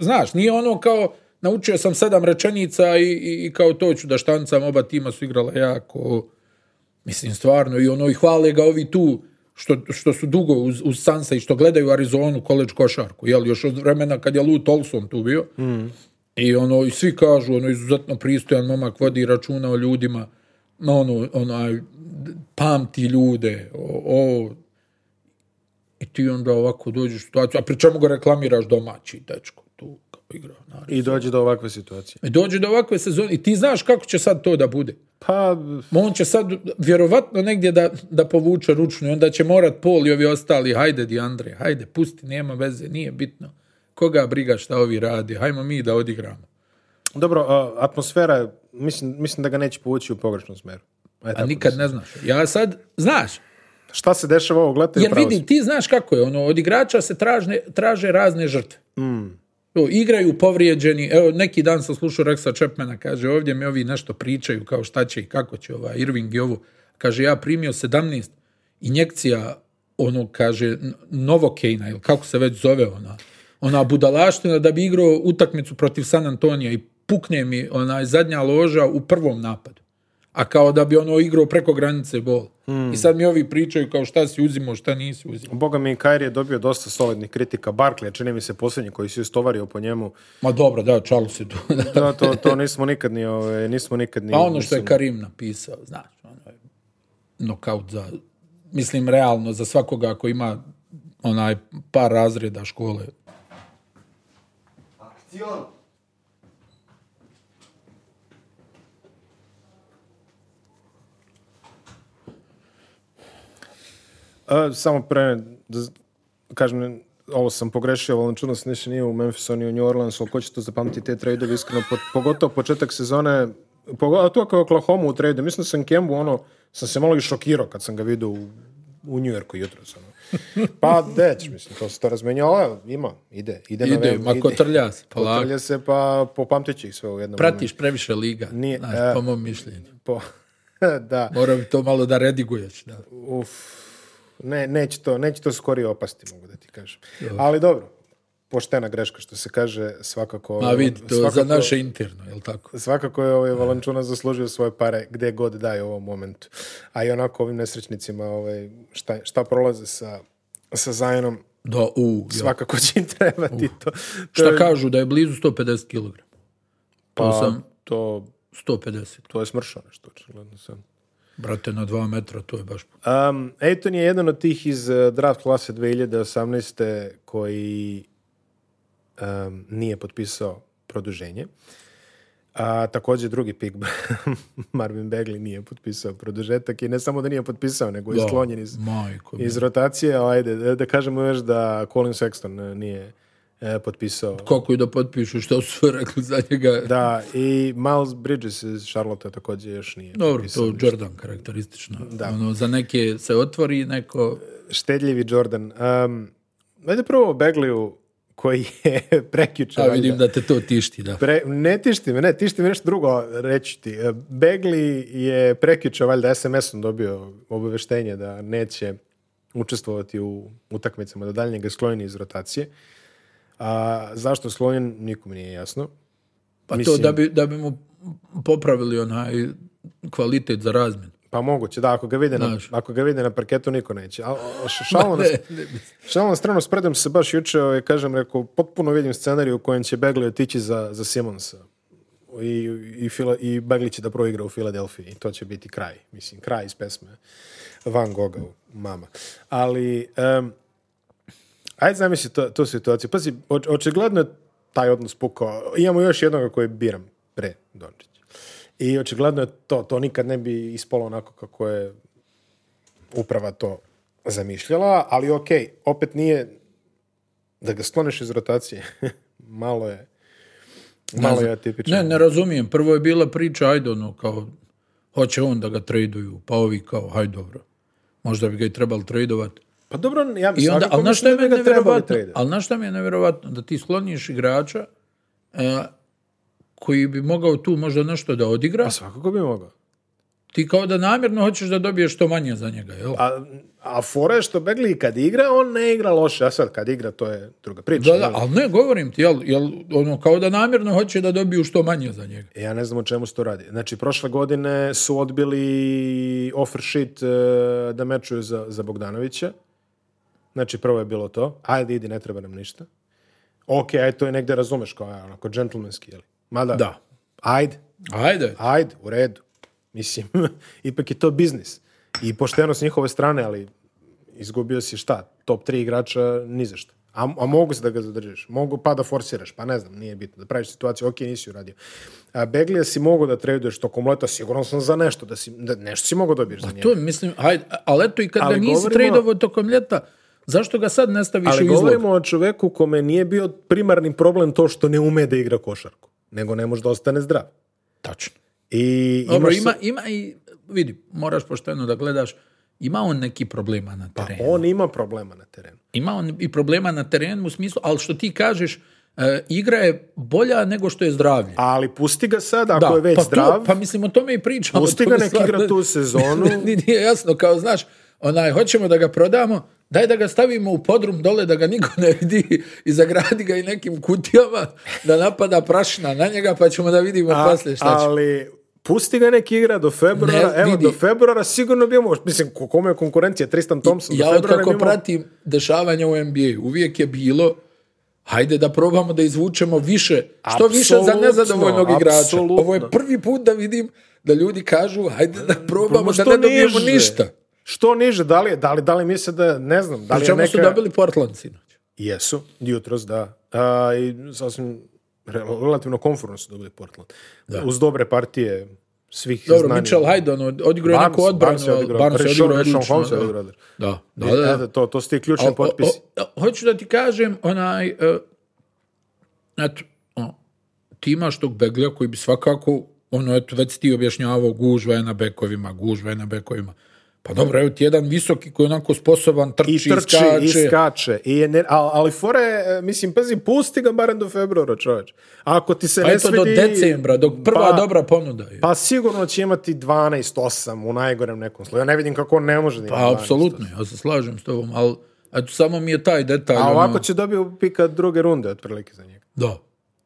B: znaš, nije ono kao, naučio sam sedam rečenica i, i, i kao to ću da štancam, oba tima su igrala jako, mislim stvarno, i ono, i hvale ga ovi tu, što, što su dugo uz, uz Sansa i što gledaju Arizonu, koleđ košarku, jel, još od vremena kad je Lou Tolson tu bio, i ono, i svi kažu, ono, izuzetno pristojan momak vodi računa o ljudima, no, ono, onaj, d- pamti ljude, o, o- i ti onda ovako dođeš u situaciju, a pri čemu ga reklamiraš domaći, dečko, tu kao igra. na-
A: I dođe do ovakve situacije.
B: I dođe do ovakve sezone i ti znaš kako će sad to da bude.
A: Pa,
B: Ma On će sad vjerovatno negdje da, da povuče ručnu i onda će morat Pol i ovi ostali, hajde Diandre, hajde, pusti, nema veze, nije bitno. Koga briga šta ovi radi, hajmo mi da odigramo.
A: dobro, a, atmosfera, je- mislim, mislim da ga neće povući u pogrešnom smjeru. Ajde,
B: A
A: tako
B: nikad
A: da
B: ne znaš. Ja sad, znaš,
A: se- Šta se dešava ovog leta i
B: jer
A: upravo si.
B: vidi, ti znaš kako je, ono, od igrača se tražne, traže razne žrtve. To, igraju povrijeđeni, evo, neki dan sam slušao Rexa Chapmana, kaže, ovdje mi ovi nešto pričaju, kao šta će i kako će, ovaj, Irving i ovo. Kaže, ja primio 17 injekcija, ono, kaže, Novokejna, ili kako se već zove ona, ona budalaština da bi igrao utakmicu protiv San Antonija i pukne mi onaj zadnja loža u prvom napadu. A kao da bi ono igrao preko granice bol. I sad mi ovi pričaju kao šta si uzimo, šta nisi uzimo.
A: Boga mi, Kairi je dobio dosta solidnih kritika. Barkley, čini mi se posljednji koji si istovario po njemu.
B: Ma dobro, da, čalu se tu. *laughs*
A: To, to, to nismo nikad ni, ove, nismo nikad ni...
B: Pa ono što je
A: mislim,
B: Karim napisao, znaš, ono je nokaut za, mislim, realno, za svakoga ko ima onaj par razreda škole.
C: Aktion!
A: A, samo pre, da z- kažem, ovo sam pogrešio, Valančunas ništa nije u Memphisu ni u New Orleansu, ali ko će to zapamtiti te trade iskreno, po- pogotovo početak sezone, pogotovo kao Oklahoma u trade Mislim da sam Kembu, ono, sam se malo i šokirao kad sam ga vidio u u Njujorku jutro ono. Pa, deć, mislim, to se to razmenjalo, evo, ima, ide, ide, na
B: Ide,
A: web,
B: ma kotrlja se, polako.
A: Kotrlja se, pa popamtit će ih sve u jednom
B: Pratiš previše liga,
A: Nije,
B: znaš,
A: e.
B: po mom mišljenju.
A: momentu. *laughs* Po- da,
B: Morao bi to malo da rediguješ. Da.
A: uf, ne, neće to, neće to skorije opasti, mogu da ti kažem. Ali dobro, poštena greška, što se kaže, svakako...
B: Ma vidi, to
A: svakako-
B: za naše interno, jel tako?
A: Svakako je ovaj Valančuna zaslužio svoje pare gdje god daje u ovom momentu. A i onako ovim nesrećnicima ovaj, šta, šta prolaze sa, sa Zajanom,
B: Da, u, ja.
A: svakako će im trebati to. to
B: Šta
A: je-
B: kažu da je blizu 150 kg? Pa,
A: Pa,
B: sam
A: to,
B: 150.
A: to je smršao nešto, očigledno sad.
B: Brate, na 2 metra to je baš...
A: Um, Ejton je jedan od tih iz eh, draft klase 2018. koji em, nije potpisao produženje. A također drugi pik *laughs* Marvin Bagley nije potpisao produžetak i ne samo da nije potpisao, nego je
B: Da,
A: sklonjen iz,
B: Majko.
A: iz rotacije. a Ajde, eh, da, da kažemo još da Colin Sexton eh, nije eh, potpisao.
B: Kako i da potpišu što su *laughs* sve rekli za njega.
A: Da, i Miles Bridges iz Charlotte također još nije
B: Dobro,
A: potpisao.
B: to je Jordan karakteristično. Ono, za neke se otvori, neko...
A: Štedljivi Jordan. Um, ajde prvo o Begleyu koji je *laughs* prekjuče.
B: A vidim
A: valjda.
B: da te to tišti, da.
A: Pre- ne tišti me, ne, tišti me nešto drugo reći ti. E, Begli je prekjuče valjda SMS-om dobio obaveštenje da neće učestvovati u utakmicama, da daljnjega je sklonjen iz rotacije. A zašto sklonjen, nikom nije jasno.
B: Pa
A: Mislim-
B: to da bi, da bi mu popravili onaj kvalitet za razmjenu.
A: Pa moguće, da, ako ga vide, na,
B: Znaš.
A: ako ga vide na parketu, niko neće. A, a š- šalno na, šalno na stranu, spredam se baš juče, ovaj, kažem, rekao, potpuno vidim scenariju u kojem će Begley otići za, za Simonsa. I, i, Fila, I Bagley će da proigra u Filadelfiji. I to će biti kraj. Mislim, kraj iz pesme Van Gogha, mama. Ali, em, ajde zamisli to- tu situaciju. Pazi, oč- očigledno je taj odnos pukao. Imamo još jednoga koji biram pre Dončića. I očigledno je to. To nikad ne bi ispalo onako kako je uprava to zamišljala, ali ok, opet nije da ga skloniš iz rotacije. *laughs* malo je malo je atipično.
B: Ne, ne razumijem. Prvo je bila priča, ajde ono, kao, hoće on da ga traduju, pa ovi kao, hajde dobro. Možda bi ga i trebali tradovati.
A: Pa dobro, ja bi
B: I onda,
A: svakako
B: ali znaš šta
A: mislio da bi
B: je meni
A: ga trebali
B: nevjerovatno?
A: trade.
B: Ali znaš šta mi je nevjerovatno? Da ti skloniš igrača e, koji bi mogao tu možda nešto da odigra,
A: Pa svakako bi mogao.
B: ti kao da namjerno hoćeš da dobiješ što manje za njega, jel?
A: A, a fora je što Begli kad igra, on ne igra loše, a sad kad igra to je druga priča.
B: Da, da,
A: jel?
B: ali ne, govorim ti, jel, jel, ono, kao da namjerno hoće da dobiju što manje za njega.
A: E, Ja ne znam o čemu se to radi. Znači, prošle godine su odbili offer sheet e, da mečuju za, za Bogdanovića. Znači, prvo je bilo to. Ajde, idi, ne treba nam ništa. Ok, ajde, to je negde razumeš kao, aj, onako, džentlmenski, jel? Mada,
B: Da.
A: ajde,
B: Ajde,
A: ajde, u redu. Mislim, *laughs* ipak je to biznis. I pošteno s njihove strane, ali izgubio si šta? Top 3 igrača ni za šta. A, a mogu se da ga zadržiš. Mogu pa da forsiraš. Pa ne znam, nije bitno. Da praviš situaciju, ok, nisi uradio. A Beglija si mogao da traduješ tokom leta, sigurno sam za nešto. Da si, da nešto si mogao dobiješ za njega.
B: Pa to mislim, ajde, ali eto i kad
A: Ali
B: ga nisi
A: govorimo-
B: tradeovao tokom ljeta, zašto ga sad ne staviš
A: Ali
B: u izlog?
A: govorimo o čoveku kome nije bio primarni problem to što ne ume da igra košarku. Nego ne može da ostane zdrav.
B: Tačno.
A: I
B: Dobro,
A: imaš sa-
B: ima, ima i, vidi, moraš pošteno da gledaš, ima on neki problema na terenu.
A: on ima problema na terenu.
B: Ima on i problema na terenu u smislu, ali što ti kažeš, e, igra je bolja nego što je zdravlje.
A: Ali pusti ga sad, ako je već
B: pa, to-
A: zdrav.
B: pa mislim o tome i pričamo.
A: Pusti
B: o
A: ga
B: tome
A: nek
B: stvar-
A: igra tu sezonu.
B: *laughs* Ni- Nije jasno, kao znaš, onaj, hoćemo da ga prodamo, daj da ga stavimo u podrum dole da ga niko ne vidi i zagradi ga i nekim kutijama da napada prašina na njega pa ćemo da vidimo
A: A-
B: poslije šta će.
A: ali pusti ga nek igra do februara.
B: znači. Ne,
A: Evo,
B: vidi.
A: do februara sigurno bi imao, mislim, ko- kome je konkurencija? Tristan Thompson. do
B: Ja
A: februara
B: otkako
A: bi imao-
B: pratim dešavanja u NBA, uvijek je bilo hajde da probamo da izvučemo više, što više za
A: Apsolutno,
B: nezadovoljnog igrača.
A: apsolutno.
B: Ovo je prvi put da vidim da ljudi kažu hajde da probamo da
A: Pa Što
B: ne dobijemo
A: niže.
B: ništa.
A: Što niže, da li, je- da li, da li misle da, ne znam, da li
B: Pri
A: je
B: čemu
A: neka...
B: su dobili Portland sinoć.
A: Jesu, jutros, da. A, I sasvim re- relativno konforno su dobili Portland. Uz dobre partije svih
B: Dobro,
A: znanih.
B: Mitchell Hyde, ono, odigrao je
A: Barnes-
B: neku odbranu,
A: Barnes je
B: ali
A: odigrao.
B: Barnes je
A: Rashon-
B: odigrao
A: Rashon
B: odlično.
A: Holmes je
B: da.
A: odigrao odlično.
B: Da, da,
A: I,
B: da, da.
A: eto, to, to su ti ključni
B: O, o,
A: potpisi.
B: o, hoću da ti kažem, onaj, e, eto, o, ti imaš tog beglja koji bi svakako, ono, eto, već si ti objašnjavao, gužva je na bekovima, gužva je na bekovima. Pa dobro, evo ti jedan visoki koji je onako sposoban, trči,
A: I trči,
B: skače.
A: i skače. I je ne- al- ali fore, e, mislim, pazi, pusti ga barem do februara, čovječ. Ako ti se
B: pa
A: ne
B: eto do
A: svidi-
B: decembra, dok prva
A: Pa-
B: dobra ponuda je.
A: Pa sigurno će imati 12-8 u najgorem nekom sloju. Ja ne vidim kako on ne može da ima
B: Pa,
A: 12.
B: apsolutno, ja se slažem s tobom, ali eto, samo mi je taj detalj.
A: A
B: ono,
A: ovako će dobio pika druge runde, otprilike za njega.
B: Da.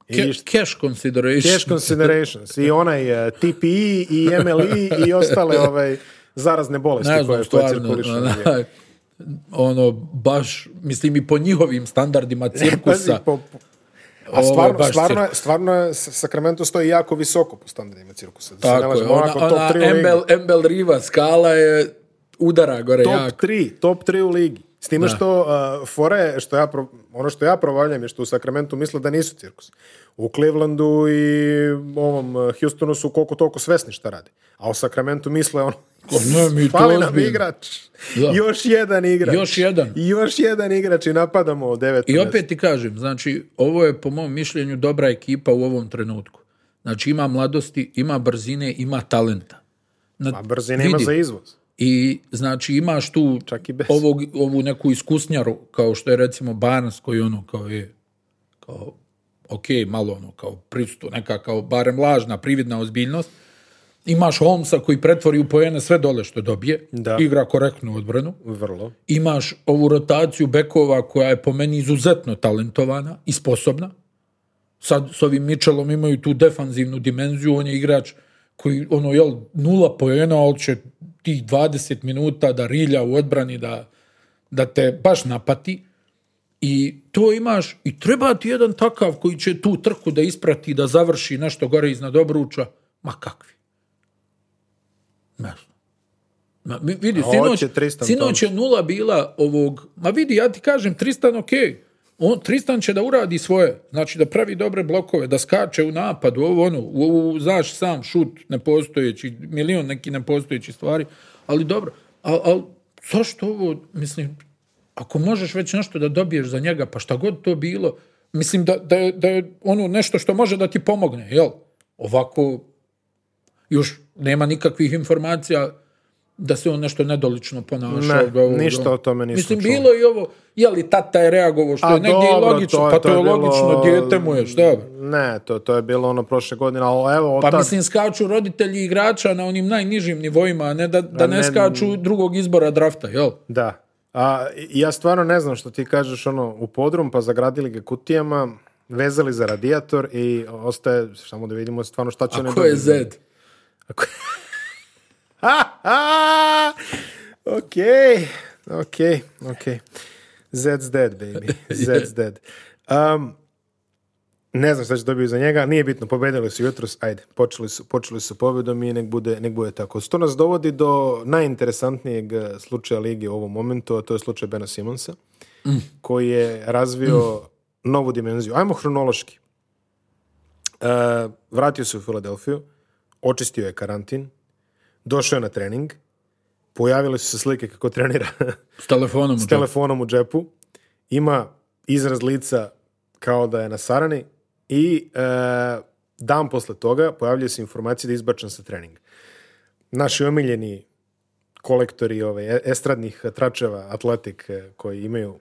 A: I
B: Ke-
A: ništa.
B: cash consideration.
A: Cash
B: *laughs*
A: considerations i onaj e, TPE i MLE i
B: *laughs*
A: ostale ovaj, zarazne bolesti
B: ne
A: koje,
B: znam,
A: koje
B: stvarno,
A: cirkulišu. na njega.
B: onaj, ono, baš, mislim i po njihovim
A: *laughs*
B: standardima
A: Pazi,
B: cirkusa.
A: po- po- A
B: Ovo je
A: stvarno,
B: baš
A: stvarno, je- stvarno je S- Sacramento stoji jako visoko po standardima cirkusa. Da se ne
B: Tako je,
A: lažemo,
B: ona,
A: onako top
B: ona
A: 3 u ligi.
B: Embel, Embel Riva skala je udara gore
A: Top
B: jako.
A: 3, top 3 u ligi. S time što uh, fore, što ja pro- ono što ja provaljam je što u Sacramento misle da nisu cirkus. U Clevelandu i ovom uh, Houstonu su koliko toliko svesni šta radi. A u Sacramentu misle ono,
B: Ko, ne, mi to
A: fali nam
B: ozbiljno."
A: igrač.
B: Da.
A: Još jedan igrač.
B: Još jedan.
A: I još jedan igrač i napadamo od devet.
B: I opet ti kažem, znači, ovo je po mom mišljenju dobra ekipa u ovom trenutku. Znači, ima mladosti, ima brzine, ima talenta. Na,
A: A brzine ima
B: vidi,
A: za izvoz.
B: I znači imaš tu
A: Čak i bez.
B: ovog, ovu neku iskusnjaru kao što je recimo Barnes koji ono kao je kao ok, malo ono kao pristu, neka kao barem lažna, prividna ozbiljnost. Imaš Holmesa koji pretvori u pojene sve dole što dobije,
A: Da.
B: igra korektnu odbranu.
A: Vrlo.
B: Imaš ovu rotaciju bekova koja je po meni izuzetno talentovana i sposobna. Sad s ovim Mitchellom imaju tu defanzivnu dimenziju, on je igrač koji, ono, jel, nula pojena, ali će tih 20 minuta da rilja u odbrani, da, da te baš napati. I to imaš, i treba ti jedan takav koji će tu trku da isprati, da završi nešto gore iznad obruča. Ma kakvi? Ne znam. Ma, mi- vidi,
A: A
B: sinoć,
A: hoće Tristan
B: sinoć je nula bila ovog... Ma vidi, ja ti kažem, Tristan ok. On, Tristan će da uradi svoje. Znači da pravi dobre blokove, da skače u napadu, ovo ono, u, u- znaš sam, šut nepostojeći, milion neki nepostojeći stvari. Ali dobro, ali al, zašto ovo, mislim, ako možeš već nešto da dobiješ za njega, pa šta god to bilo, mislim da, da, je, da je ono nešto što može da ti pomogne, jel? Ovako, još nema nikakvih informacija da se on nešto nedolično ponašao.
A: Ne,
B: da ovo, da
A: ništa
B: ono.
A: o tome nisam
B: Mislim,
A: čuo.
B: bilo je i ovo, je li tata je reagovao, što
A: A
B: je negdje i
A: dobro,
B: logično,
A: to je-
B: pa
A: to
B: to
A: je
B: je,
A: bilo-
B: logično, dijete mu je, šta? je?
A: Ne, to, to je bilo ono prošle godine, ali evo, od
B: Pa
A: tad-
B: mislim, skaču roditelji igrača na onim najnižim nivoima, a ne da, da ne,
A: ne-
B: skaču drugog izbora drafta, jel?
A: Da. A, i- ja stvarno ne znam što ti kažeš ono u podrum, pa zagradili ga kutijama, vezali za radijator i ostaje, samo da vidimo stvarno šta će
B: A
A: ne
B: ko je Zed?
A: Ha, ha! *laughs* Ok, ok, ok. Zed's dead, baby. Zed's dead. Um, ne znam šta će dobiti za njega, nije bitno, pobedili su jutros, ajde, počeli su, počeli su pobjedom i nek bude, nek bude tako. To nas dovodi do najinteresantnijeg eh, slučaja lige u ovom momentu, a to je slučaj Bena Simonsa, koji je razvio novu dimenziju. Ajmo hronološki. Eh, vratio se u Filadelfiju, očistio je karantin, došao je na trening, pojavile su se slike kako trenira *laughs*
B: S telefonom. u
A: s
B: džepu.
A: telefonom u džepu, ima izraz lica kao da je na sarani i e, dan posle toga pojavljuje se informacija da je izbačen sa treninga. Naši omiljeni kolektori ove, e- estradnih tračeva Atletik e, koji imaju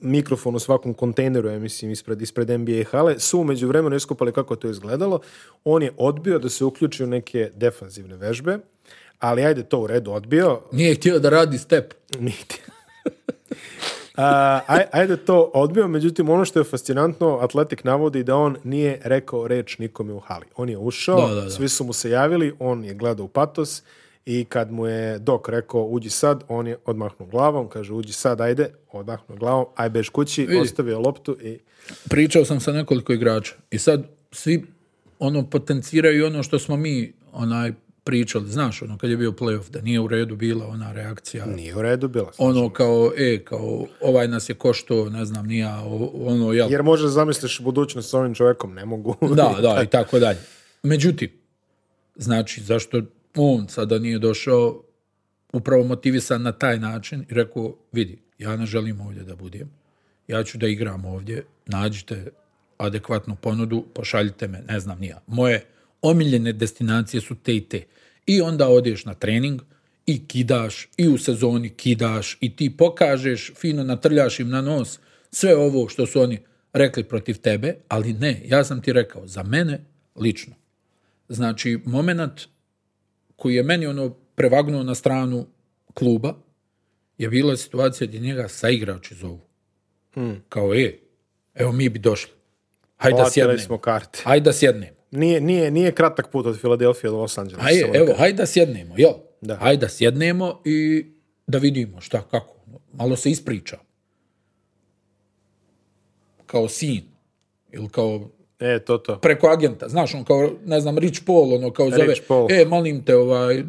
A: mikrofon u svakom kontejneru, ja mislim, ispred, ispred NBA hale, su umeđu vremenu iskopali kako je to izgledalo. On je odbio da se uključi u neke defanzivne vežbe, ali ajde to u redu odbio.
B: Nije htio da radi step.
A: Niti. *laughs* A, aj- ajde to odbio, međutim ono što je fascinantno, Atletik navodi da on nije rekao reč nikome u hali. On je ušao,
B: Da, da, da.
A: svi su mu se javili, on je gledao u patos i kad mu je dok rekao uđi sad, on je odmahnuo glavom, kaže uđi sad, ajde, odmahnuo glavom, aj bež kući, ostavio loptu i
B: Pričao sam sa nekoliko igrača i sad svi ono potenciraju ono što smo mi onaj pričali, znaš, ono kad je bio playoff, da nije u redu bila ona reakcija.
A: nije u redu bila.
B: Ono kao, e, kao, ovaj nas je košto, ne znam, nija, ono, jel,
A: Jer možeš zamisliš budućnost s ovim čovjekom, ne mogu.
B: *laughs* da, da, i tako dalje. Međutim, znači, zašto on sada nije došao upravo motivisan na taj način i rekao, vidi, ja ne želim ovdje da budem, ja ću da igram ovdje, nađite adekvatnu ponudu, pošaljite me, ne znam nija. Moje omiljene destinacije su te i te. I onda odeš na trening i kidaš, i u sezoni kidaš, i ti pokažeš, fino natrljaš im na nos, sve ovo što su oni rekli protiv tebe, ali ne, ja sam ti rekao, za mene lično. Znači, moment koji je meni ono prevagnuo na stranu kluba je bila situacija gdje njega saigrači zovu. Kao, e, evo mi bi došli.
A: Hmm.
B: Hajde da
A: Platili
B: sjednemo.
A: smo karte.
B: Hajde da sjednemo.
A: Nije, nije, nije kratak put od Filadelfije do Los Angeles.
B: Aj,
A: samo da
B: evo,
A: kažem.
B: hajde da sjednemo, jel?
A: Da.
B: Hajde da sjednemo i da vidimo šta, kako. Malo se ispriča. Kao sin. Ili kao
A: E, to to.
B: preko agenta, znaš, on kao, ne znam, Rich Paul, ono kao zove,
A: Rich Paul.
B: e, molim te, ovaj, eh,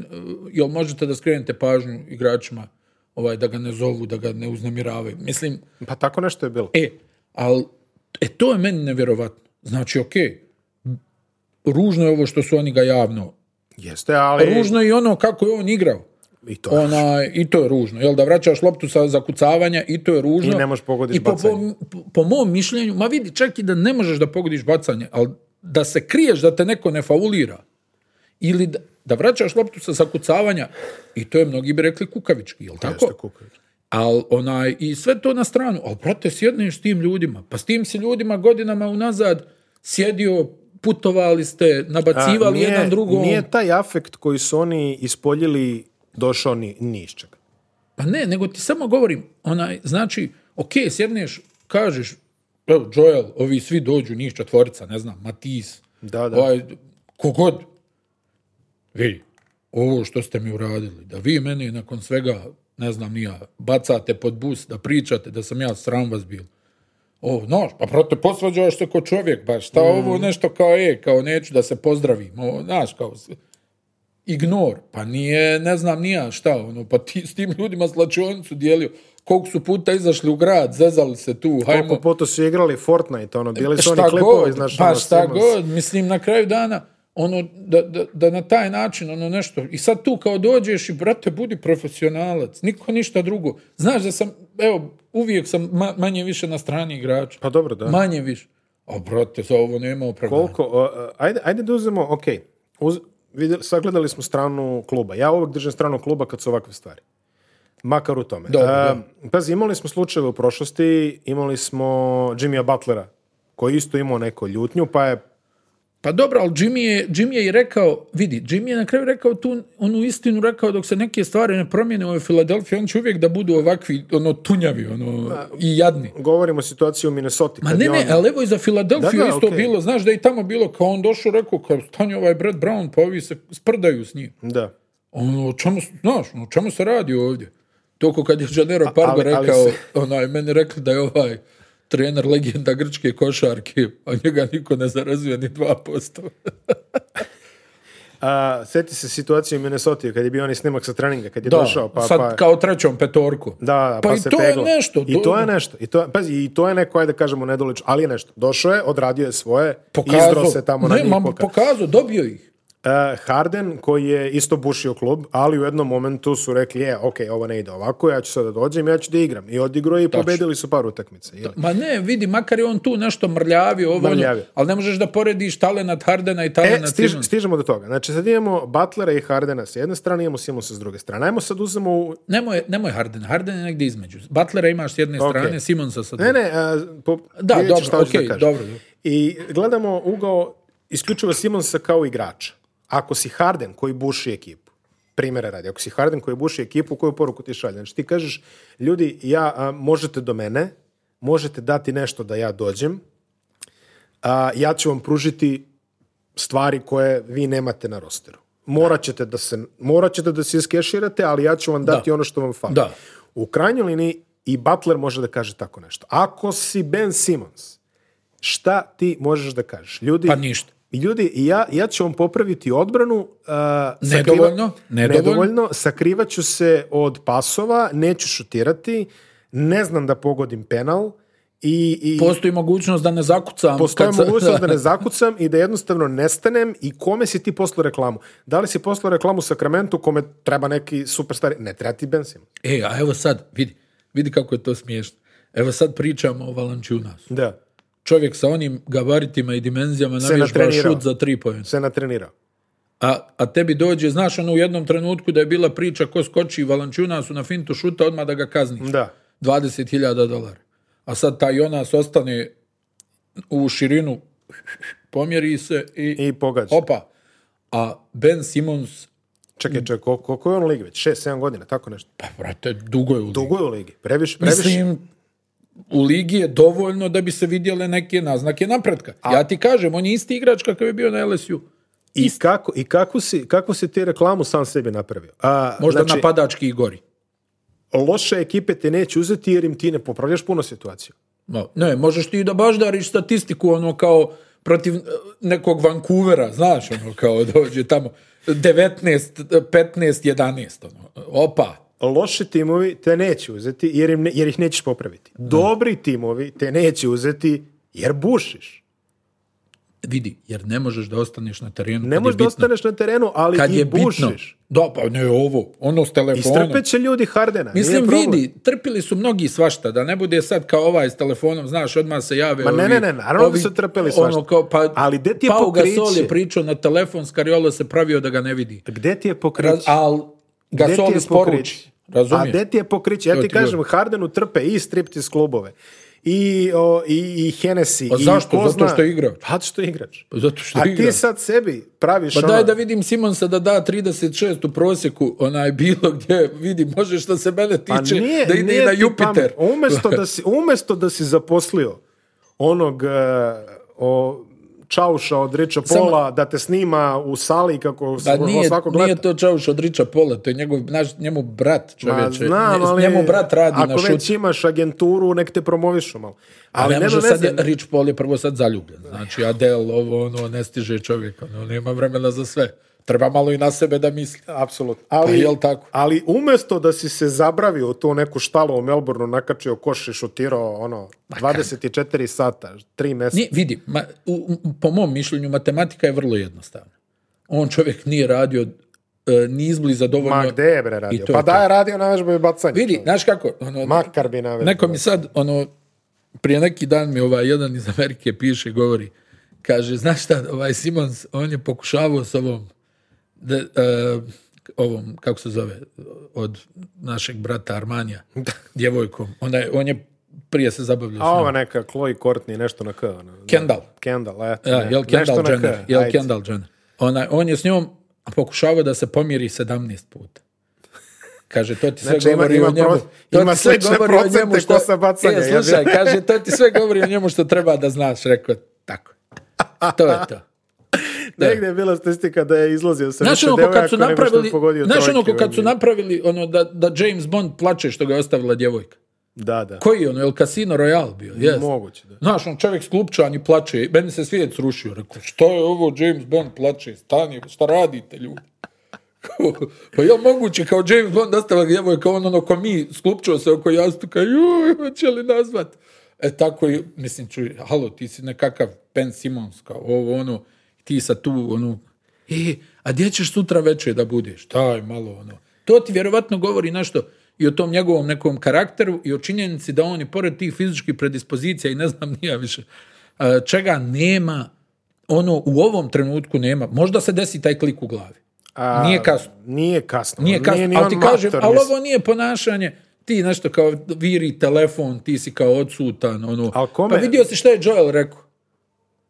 B: jel možete da skrenete pažnju igračima, ovaj, da ga ne zovu, da ga ne uznemiravaju. Mislim,
A: Pa tako nešto je bilo.
B: E, ali, e, to je meni nevjerovatno. Znači, okej, ružno je ovo što su oni ga javno.
A: Jeste, ali...
B: Ružno Ono, je i ono kako je on igrao.
A: I to.
B: Onaj, I to je ružno. Jel da vraćaš loptu sa zakucavanja i to je ružno.
A: I ne možeš pogoditi
B: I po,
A: bacanje.
B: po, po mom mišljenju, ma vidi, čak i da ne možeš da pogodiš bacanje, ali da se kriješ da te neko ne faulira ili da, da vraćaš loptu sa zakucavanja i to je mnogi bi rekli kukavički, jel tako?
A: Jeste, kukavič.
B: Al, onaj, I sve to na stranu. Ali, brate, sjedneš s tim ljudima. Pa s tim si ljudima godinama unazad sjedio, putovali ste,
A: A,
B: nabacivali
A: nije-
B: jedan drugom.
A: Nije taj afekt koji su oni ispoljili došao ni, ni iz čega.
B: Pa ne, nego ti samo govorim, onaj, znači, ok, sjedneš, kažeš, evo, Joel, ovi svi dođu, njih četvorica, ne znam, Matis,
A: Da, da.
B: ovaj, kogod, vi, ovo što ste mi uradili, da vi meni nakon svega, ne znam, ni ja, bacate pod bus, da pričate, da sam ja sram vas bil. O, noš, pa prote, posvađaš se ko čovjek, baš,
A: Mm.
B: šta ovo nešto kao, e, kao neću da se pozdravim, o, znaš, kao, s- ignor, pa nije, ne znam nija šta, ono, pa ti s tim ljudima slačionicu dijelio, koliko su puta izašli u grad, zezali se tu, hajmo,
A: Koliko puta su igrali Fortnite, ono, bili su oni
B: Pa šta
A: klipovi,
B: god,
A: znaš,
B: pa
A: ono,
B: šta
A: snimali
B: god, mislim na kraju dana ono da, da, da na taj način ono nešto i sad tu kao dođeš i brate budi profesionalac, niko ništa drugo. Znaš da sam evo uvijek sam ma- manje više na strani igrača.
A: se. Pa dobro, da.
B: Manje više. A brate, za ovo nema opravdanja.
A: Koliko, o, o, ajde, ajde da uzmemo, ok, uz, vidjeli- sagledali smo stranu kluba. Ja uvijek držim stranu kluba kad su ovakve stvari. Makar u tome. E,
B: Dobro, da.
A: pazi, imali smo slučajeve u prošlosti, imali smo Jimmya Butlera, koji je isto imao neko ljutnju, pa je
B: Pa dobro, ali Jimmy je, Jimmy je i rekao, vidi, Jimmy je na kraju rekao tu onu istinu, rekao dok se neke stvari ne promijene u Filadelfiji, on će uvijek da budu ovakvi, ono, tunjavi, ono, i jadni.
A: govorimo o situaciji u Minnesota.
B: Ma
A: Pa, kad
B: ne,
A: je
B: ne,
A: on-
B: ali evo i za Filadelfiju
A: Da, da,
B: isto
A: okej.
B: bilo, znaš da je i tamo bilo, kao on došao, rekao, kao stani ovaj Brad Brown, pa ovi se sprdaju s njim.
A: Da.
B: Ono, o čemu, s- znaš, ono, o čemu se radi ovdje? Toko kad je Janero Pargo
A: ali- ali
B: rekao,
A: se-
B: onaj, meni rekli da je ovaj trener legenda grčke košarke, a njega niko ne zarazuje ni
A: *laughs*
B: 2%.
A: A, sjeti se situacije u Minnesota kad je bio onaj snimak sa treninga, kad je
B: Da,
A: došao, pa,
B: sad
A: pa,
B: kao trećom petorku.
A: Da, da,
B: pa,
A: pa,
B: i
A: se
B: to
A: peglo.
B: je nešto.
A: I to je nešto. I to, je- pazi, i to je neko, ajde da kažemo, nedolično, ali je nešto. Došao je, odradio je svoje, izdro se tamo na
B: ne,
A: njih.
B: ma,
A: poka-
B: pokazao, dobio ih.
A: E, Harden, koji je isto bušio klub, ali u jednom momentu su rekli, je, ok, ovo ne ide ovako, ja ću sada dođem, ja ću da igram. I odigrao je i pobedili su par utakmica. jel?
B: Ma ne, vidi, makar je on tu nešto mrljavio, ovo, ono,
A: Mrljavio.
B: ali ne možeš da porediš talenat Hardena i
A: E,
B: talenat
A: stiž-
B: Simonsa.
A: stižemo do toga. Znači, sad imamo Butlera i Hardena s jedne strane, imamo Simonsa s druge strane. Ajmo sad uzmemo u...
B: Nemoj, nemoj Harden, Harden je negdje između. Butlera imaš s jedne
A: Ok.
B: strane, Simonsa sa druge.
A: Ne, ne, a, po...
B: Da,
A: vidjet ćeš
B: dobro,
A: šta hoću da
B: okej,
A: kažem.
B: dobro, dobro.
A: I gledamo ugao isključivo Simonsa kao igrača. Ako si Harden koji buši ekipu, primjera radi, ako si Harden koji buši ekipu, koju poruku ti šalje? Znači ti kažeš, ljudi, ja, a, možete do mene, možete dati nešto da ja dođem, a, ja ću vam pružiti stvari koje vi nemate na rosteru. Morat ćete da se, morat ćete da se iskeširate, ali ja ću vam dati ono što vam fali.
B: Da.
A: U krajnjoj liniji i Butler može da kaže tako nešto. Ako si Ben Simmons, šta ti možeš da kažeš? Ljudi,
B: Pa ništa.
A: Ljudi, ja, ja ću vam popraviti odbranu. Uh, sakriva-
B: Nedovoljno, nedovoljno.
A: nedovoljno. Sakrivat ću se od pasova, neću šutirati, ne znam da pogodim penal i, i
B: Postoji mogućnost da ne zakucam.
A: postoje
B: kad sa-
A: mogućnost da ne zakucam i da jednostavno nestanem i kome si ti poslao reklamu? Da li si poslao reklamu Sakramentu kome treba neki superstar? Ne, treba ti Ben Simmons.
B: E, a evo sad, vidi, vidi kako je to smiješno. Evo sad pričamo o Valančunasu.
A: Da.
B: Čovjek sa onim gabaritima i dimenzijama navježba
A: natrenirao.
B: šut za tri pojena.
A: Se natrenirao.
B: A, a tebi dođe, znaš ono u jednom trenutku da je bila priča ko skoči Valančuna su na fintu šuta odmah da ga kazni.
A: Da.
B: 20.000 dolara. A sad taj Jonas ostane u širinu, pomjeri se i,
A: I pogađa.
B: opa. A Ben Simmons,
A: Čekaj, čekaj, koliko, koliko je on u ligi već? 6-7 godina, tako nešto.
B: pa brate, dugo je u ligi.
A: Dugo je u ligi. Previše, previše.
B: Mislim, u ligi je dovoljno da bi se vidjele neke naznake napretka. Ja ti kažem, on je isti igrač kakav je bio na LSU.
A: I, kako, i kako, si, kako si ti reklamu sam sebi napravio? A,
B: Možda
A: znači,
B: napadački i gori.
A: loše ekipe te neće uzeti jer im ti ne popravljaš puno situaciju.
B: No, ne, možeš ti da baždariš statistiku ono kao protiv eh, nekog Vancouvera, znaš, ono kao dođe tamo 19, eh, 15, 11, ono, opa,
A: Loši timovi te neće uzeti jer, im ne- jer ih nećeš popraviti. Dobri timovi te neće uzeti jer bušiš.
B: vidi, jer ne možeš da ostaneš na terenu
A: Ne
B: kad
A: možeš da
B: je bitno.
A: ostaneš na terenu, ali
B: kad
A: i
B: je bitno.
A: bušiš.
B: Da, pa ne ovo, ono s telefonom.
A: Istrpet će ljudi Hardena. nije
B: Mislim,
A: problem.
B: vidi, trpili su mnogi svašta, da ne bude sad kao ovaj s telefonom, znaš, odmah se jave
A: Ma ne,
B: ovi-
A: ne, ne, naravno da su trpili svašta.
B: Ono kao, pa,
A: Ali gde ti je
B: Pau Gasol
A: pokriće?
B: je pričao na telefon, Skariolo se pravio da ga ne vidi.
A: Gde ti je
B: Raz,
A: pokrić?
B: al
A: Gde ti
B: Gasol
A: je
B: isporuči.
A: pokrić? A
B: Razumiješ?
A: gde ti je pokrić? Ja
B: To
A: ti
B: ti govorim.
A: kažem, Hardenu trpe i striptiz klubove. I, o, i, i Hennessy.
B: Pa
A: i
B: zašto?
A: ko
B: Zato
A: zna-
B: što je igrač.
A: Pa zato što je igrač.
B: Pa Zato što
A: A
B: igra.
A: ti sad sebi praviš
B: Pa
A: ono-
B: daj da vidim Simonsa da da 36 u prosjeku, onaj bilo gdje, vidi, može što se mene
A: Pa
B: tiče,
A: nije-
B: da ide
A: nije
B: i na
A: ti
B: Jupiter.
A: pamet. Umesto da, si, umesto da si zaposlio onog e, o, čauša od Riča Pola da te snima u sali kako
B: Pa
A: se
B: nije,
A: svako gleda.
B: nije to Čauš od Riča Pola, to je njegov, naš, njemu brat
A: Ma,
B: čovječe.
A: Pa znam,
B: Nje-
A: ali
B: njemu brat radi
A: ako
B: na šutu.
A: već imaš agenturu, nek te promovišu malo.
B: Ali
A: Ali
B: ne
A: nema
B: može
A: veze.
B: sad, je- Rich Paul je prvo sad zaljubljen. Znači, Adele, ovo, ono, ne stiže čovjek, ono, nema vremena za sve. Treba malo i na sebe da misli.
A: Apsolutno. Ali,
B: Pa jel tako?
A: ali umjesto da si se zabravio u tu neku štalu u Melbourneu, nakačio koš i šutirao ono, 24 sata, 3 mjeseca.
B: Ni, vidi, ma, u- u- po mom mišljenju, matematika je vrlo jednostavna. On čovjek nije radio e, ni izbliza dovoljno...
A: Ma gde je bre radio?
B: I to
A: Pa
B: je
A: da
B: to.
A: je radio na vežbu i bacanje.
B: Vidi, znaš kako, ono,
A: Makar bi navežbao.
B: Neko mi sad, ono, prije neki dan mi ovaj jedan iz Amerike piše, govori, kaže, znaš šta, ovaj Simons, on je pokušavao s ovom, da, e, ovom, kako se zove, od našeg brata Armanija, djevojkom. Ona je, on je prije se zabavljao
A: A
B: s
A: ova
B: njom.
A: neka Chloe Courtney, nešto na K. Ono.
B: Kendall.
A: Kendall, eto.
B: Ja,
A: ne.
B: jel
A: Nešto
B: Kendall
A: na K,
B: Jenner? Jel
A: ajde.
B: Kendall Jenner? Ona, on je s njom pokušavao da se pomiri 17 puta. Kaže, to ti sve
A: Znači, ima-
B: govori
A: ima
B: o njemu.
A: pro-
B: to
A: ima
B: ti sve
A: slične
B: govori o
A: procente
B: njemu što...
A: ko sa bacanja,
B: E,
A: jel?
B: slušaj, kaže, to ti sve govori o njemu što treba da znaš. Rekao, tako. To je
A: *laughs*
B: to.
A: *laughs* Negdje je bila statistika da je izlazio sa
B: Znaš
A: više
B: ono ko
A: devojaka
B: kad su
A: nego što je
B: napravili,
A: pogodio
B: znaš ono
A: trojke
B: ko
A: u
B: kad su
A: NBA.
B: napravili ono da, da James Bond plače što ga je ostavila djevojka.
A: Da, da.
B: Koji je ono, je li Casino Royale bio? Yes.
A: Moguće, da.
B: Znaš, on čovjek sklupčan i plače. I Meni se svijet srušio. Rekao, što je ovo James Bond plače? Stani, šta radite ljudi? *laughs* pa je li moguće kao James Bond ostala djevojka, on ono ko mi sklupčao se oko jastuka, joj, hoće li nazvat? E tako, i, mislim, čuj, halo, ti si nekakav Ben Simmons, kao ovo, ono, ti sa tu, ono, e, a gdje ćeš sutra večer da budeš? Taj, malo, ono. To ti vjerovatno govori nešto i o tom njegovom nekom karakteru i o činjenici da on i pored tih fizičkih predispozicija i ne znam nija više, e, čega nema, ono, u ovom trenutku nema. Možda se desi taj klik u glavi.
A: A,
B: Nije kasno.
A: Pa Nije kasno.
B: Nije kasno,
A: ni
B: ali
A: on
B: ti kažem,
A: mator,
B: ali
A: mislim.
B: ovo nije ponašanje. Ti nešto kao viri telefon, ti si kao odsutan, ono.
A: Al kome-
B: Pa vidio si što je Joel rekao.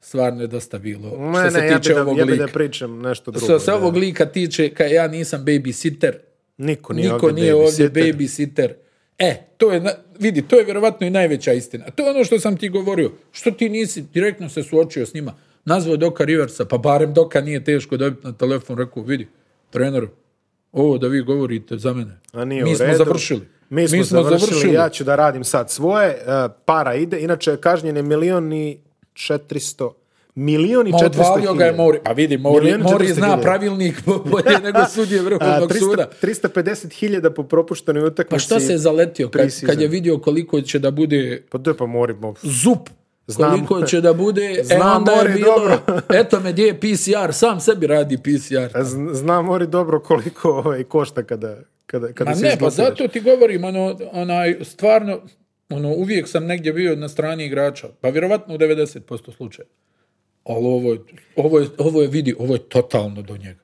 B: Stvarno je dosta bilo.
A: Ne,
B: što se
A: ne, ja
B: tiče
A: bi da-
B: ovog
A: ja bi
B: lika.
A: da pričam nešto drugo.
B: što se
A: da.
B: ovog lika tiče, ka ja nisam babysitter,
A: Niko nije
B: niko
A: ovdje
B: nije ovdje
A: babysitter.
B: babysitter. E, to je, na- vidi, to je vjerovatno i najveća istina. To je ono što sam ti govorio. Što ti nisi direktno se suočio s njima? Nazvao Doka Riversa, pa barem Doka nije teško dobiti na telefon. Rekao, vidi, treneru, ovo da vi govorite za mene.
A: A nije
B: Mi
A: u
B: smo
A: redu.
B: završili.
A: Mi smo, završili, ja ću da radim sad svoje, e, para ide, inače kažnjen je milion i 400 milion i
B: Ma
A: 400
B: odvalio ga je
A: hiljada.
B: Mori. A vidi, Mori,
A: Milion i
B: Mori
A: 400
B: zna
A: hiljada.
B: pravilnik *laughs* bolje nego sudje
A: A,
B: Vrhovnog
A: 300
B: suda.
A: 350 hiljada po propuštenoj utakmici.
B: Pa šta se je zaletio kad,
A: pre-season.
B: kad je vidio koliko će da bude
A: Pa to je pa morimo.
B: zup
A: Znam.
B: *laughs* koliko će da bude,
A: Znam,
B: e onda je
A: Mori,
B: bilo,
A: dobro.
B: *laughs* eto me gdje je PCR, sam sebi radi PCR.
A: Z- Zna e, mori dobro koliko ovaj, košta kada, kada, kada
B: Ma
A: se
B: ne, pa
A: izlotiraš.
B: zato ti govorim, ono, onaj, stvarno, ono, uvijek sam negdje bio na strani igrača, pa vjerovatno u 90% slučaja. Ali ovo je, ovo je, ovo je vidi, ovo je totalno do njega.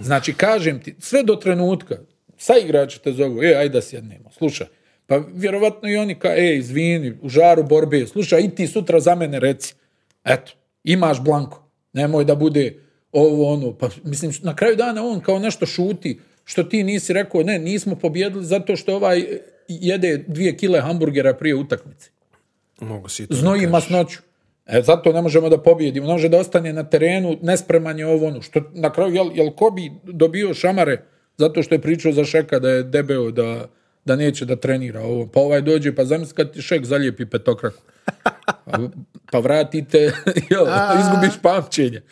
B: Znači, kažem ti, sve do trenutka, sa igrači te zovu, e, ajde da sjednemo, slušaj. Pa vjerovatno i oni ka, e, izvini, u žaru borbe, slušaj, i ti sutra za mene reci. Eto, imaš blanko, nemoj da bude ovo ono. Pa, mislim, na kraju dana on kao nešto šuti, što ti nisi rekao, ne, nismo pobjedili zato što ovaj jede dvije kile hamburgera prije utakmice
A: Mogu si i to.
B: znoji masnoću. E, zato ne možemo da pobjedimo. Ne može da ostane na terenu, nespreman je ovo ono. Što, na kraju, jel, jel Kobi dobio šamare zato što je pričao za Šeka da je debeo, da, da neće da trenira ovo. Pa ovaj dođe, pa zamisli kad ti Šek zalijepi petokraku. Pa, pa vratite, *laughs* jel, izgubiš pamćenje.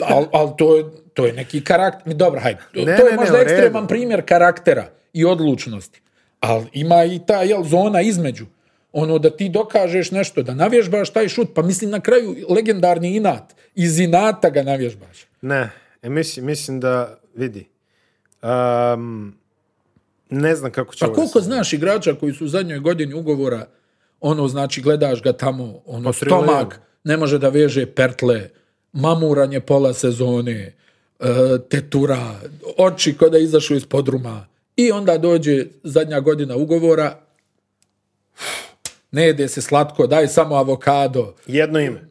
B: Ali al to, je, to je neki karakter. Dobro, hajde. To,
A: Ne,
B: to
A: ne,
B: je
A: ne,
B: možda
A: u redu.
B: ekstreman primjer karaktera i odlučnosti. Ali ima i ta jel, zona između. Ono da ti dokažeš nešto, da navježbaš taj šut, pa mislim na kraju legendarni inat. Iz inata ga navježbaš.
A: Ne, e, mislim, mislim da vidi. Um, ne znam kako će
B: Pa
A: ovo
B: koliko
A: da se-
B: znaš igrača koji su u zadnjoj godini ugovora, ono znači gledaš ga tamo, ono
A: trilion.
B: stomak, ne može da veže pertle, mamuranje pola sezone, e, tetura, oči k'o da je izašao iz podruma. I onda dođe zadnja godina ugovora, ne jede se slatko, daj samo avokado.
A: Jedno ime.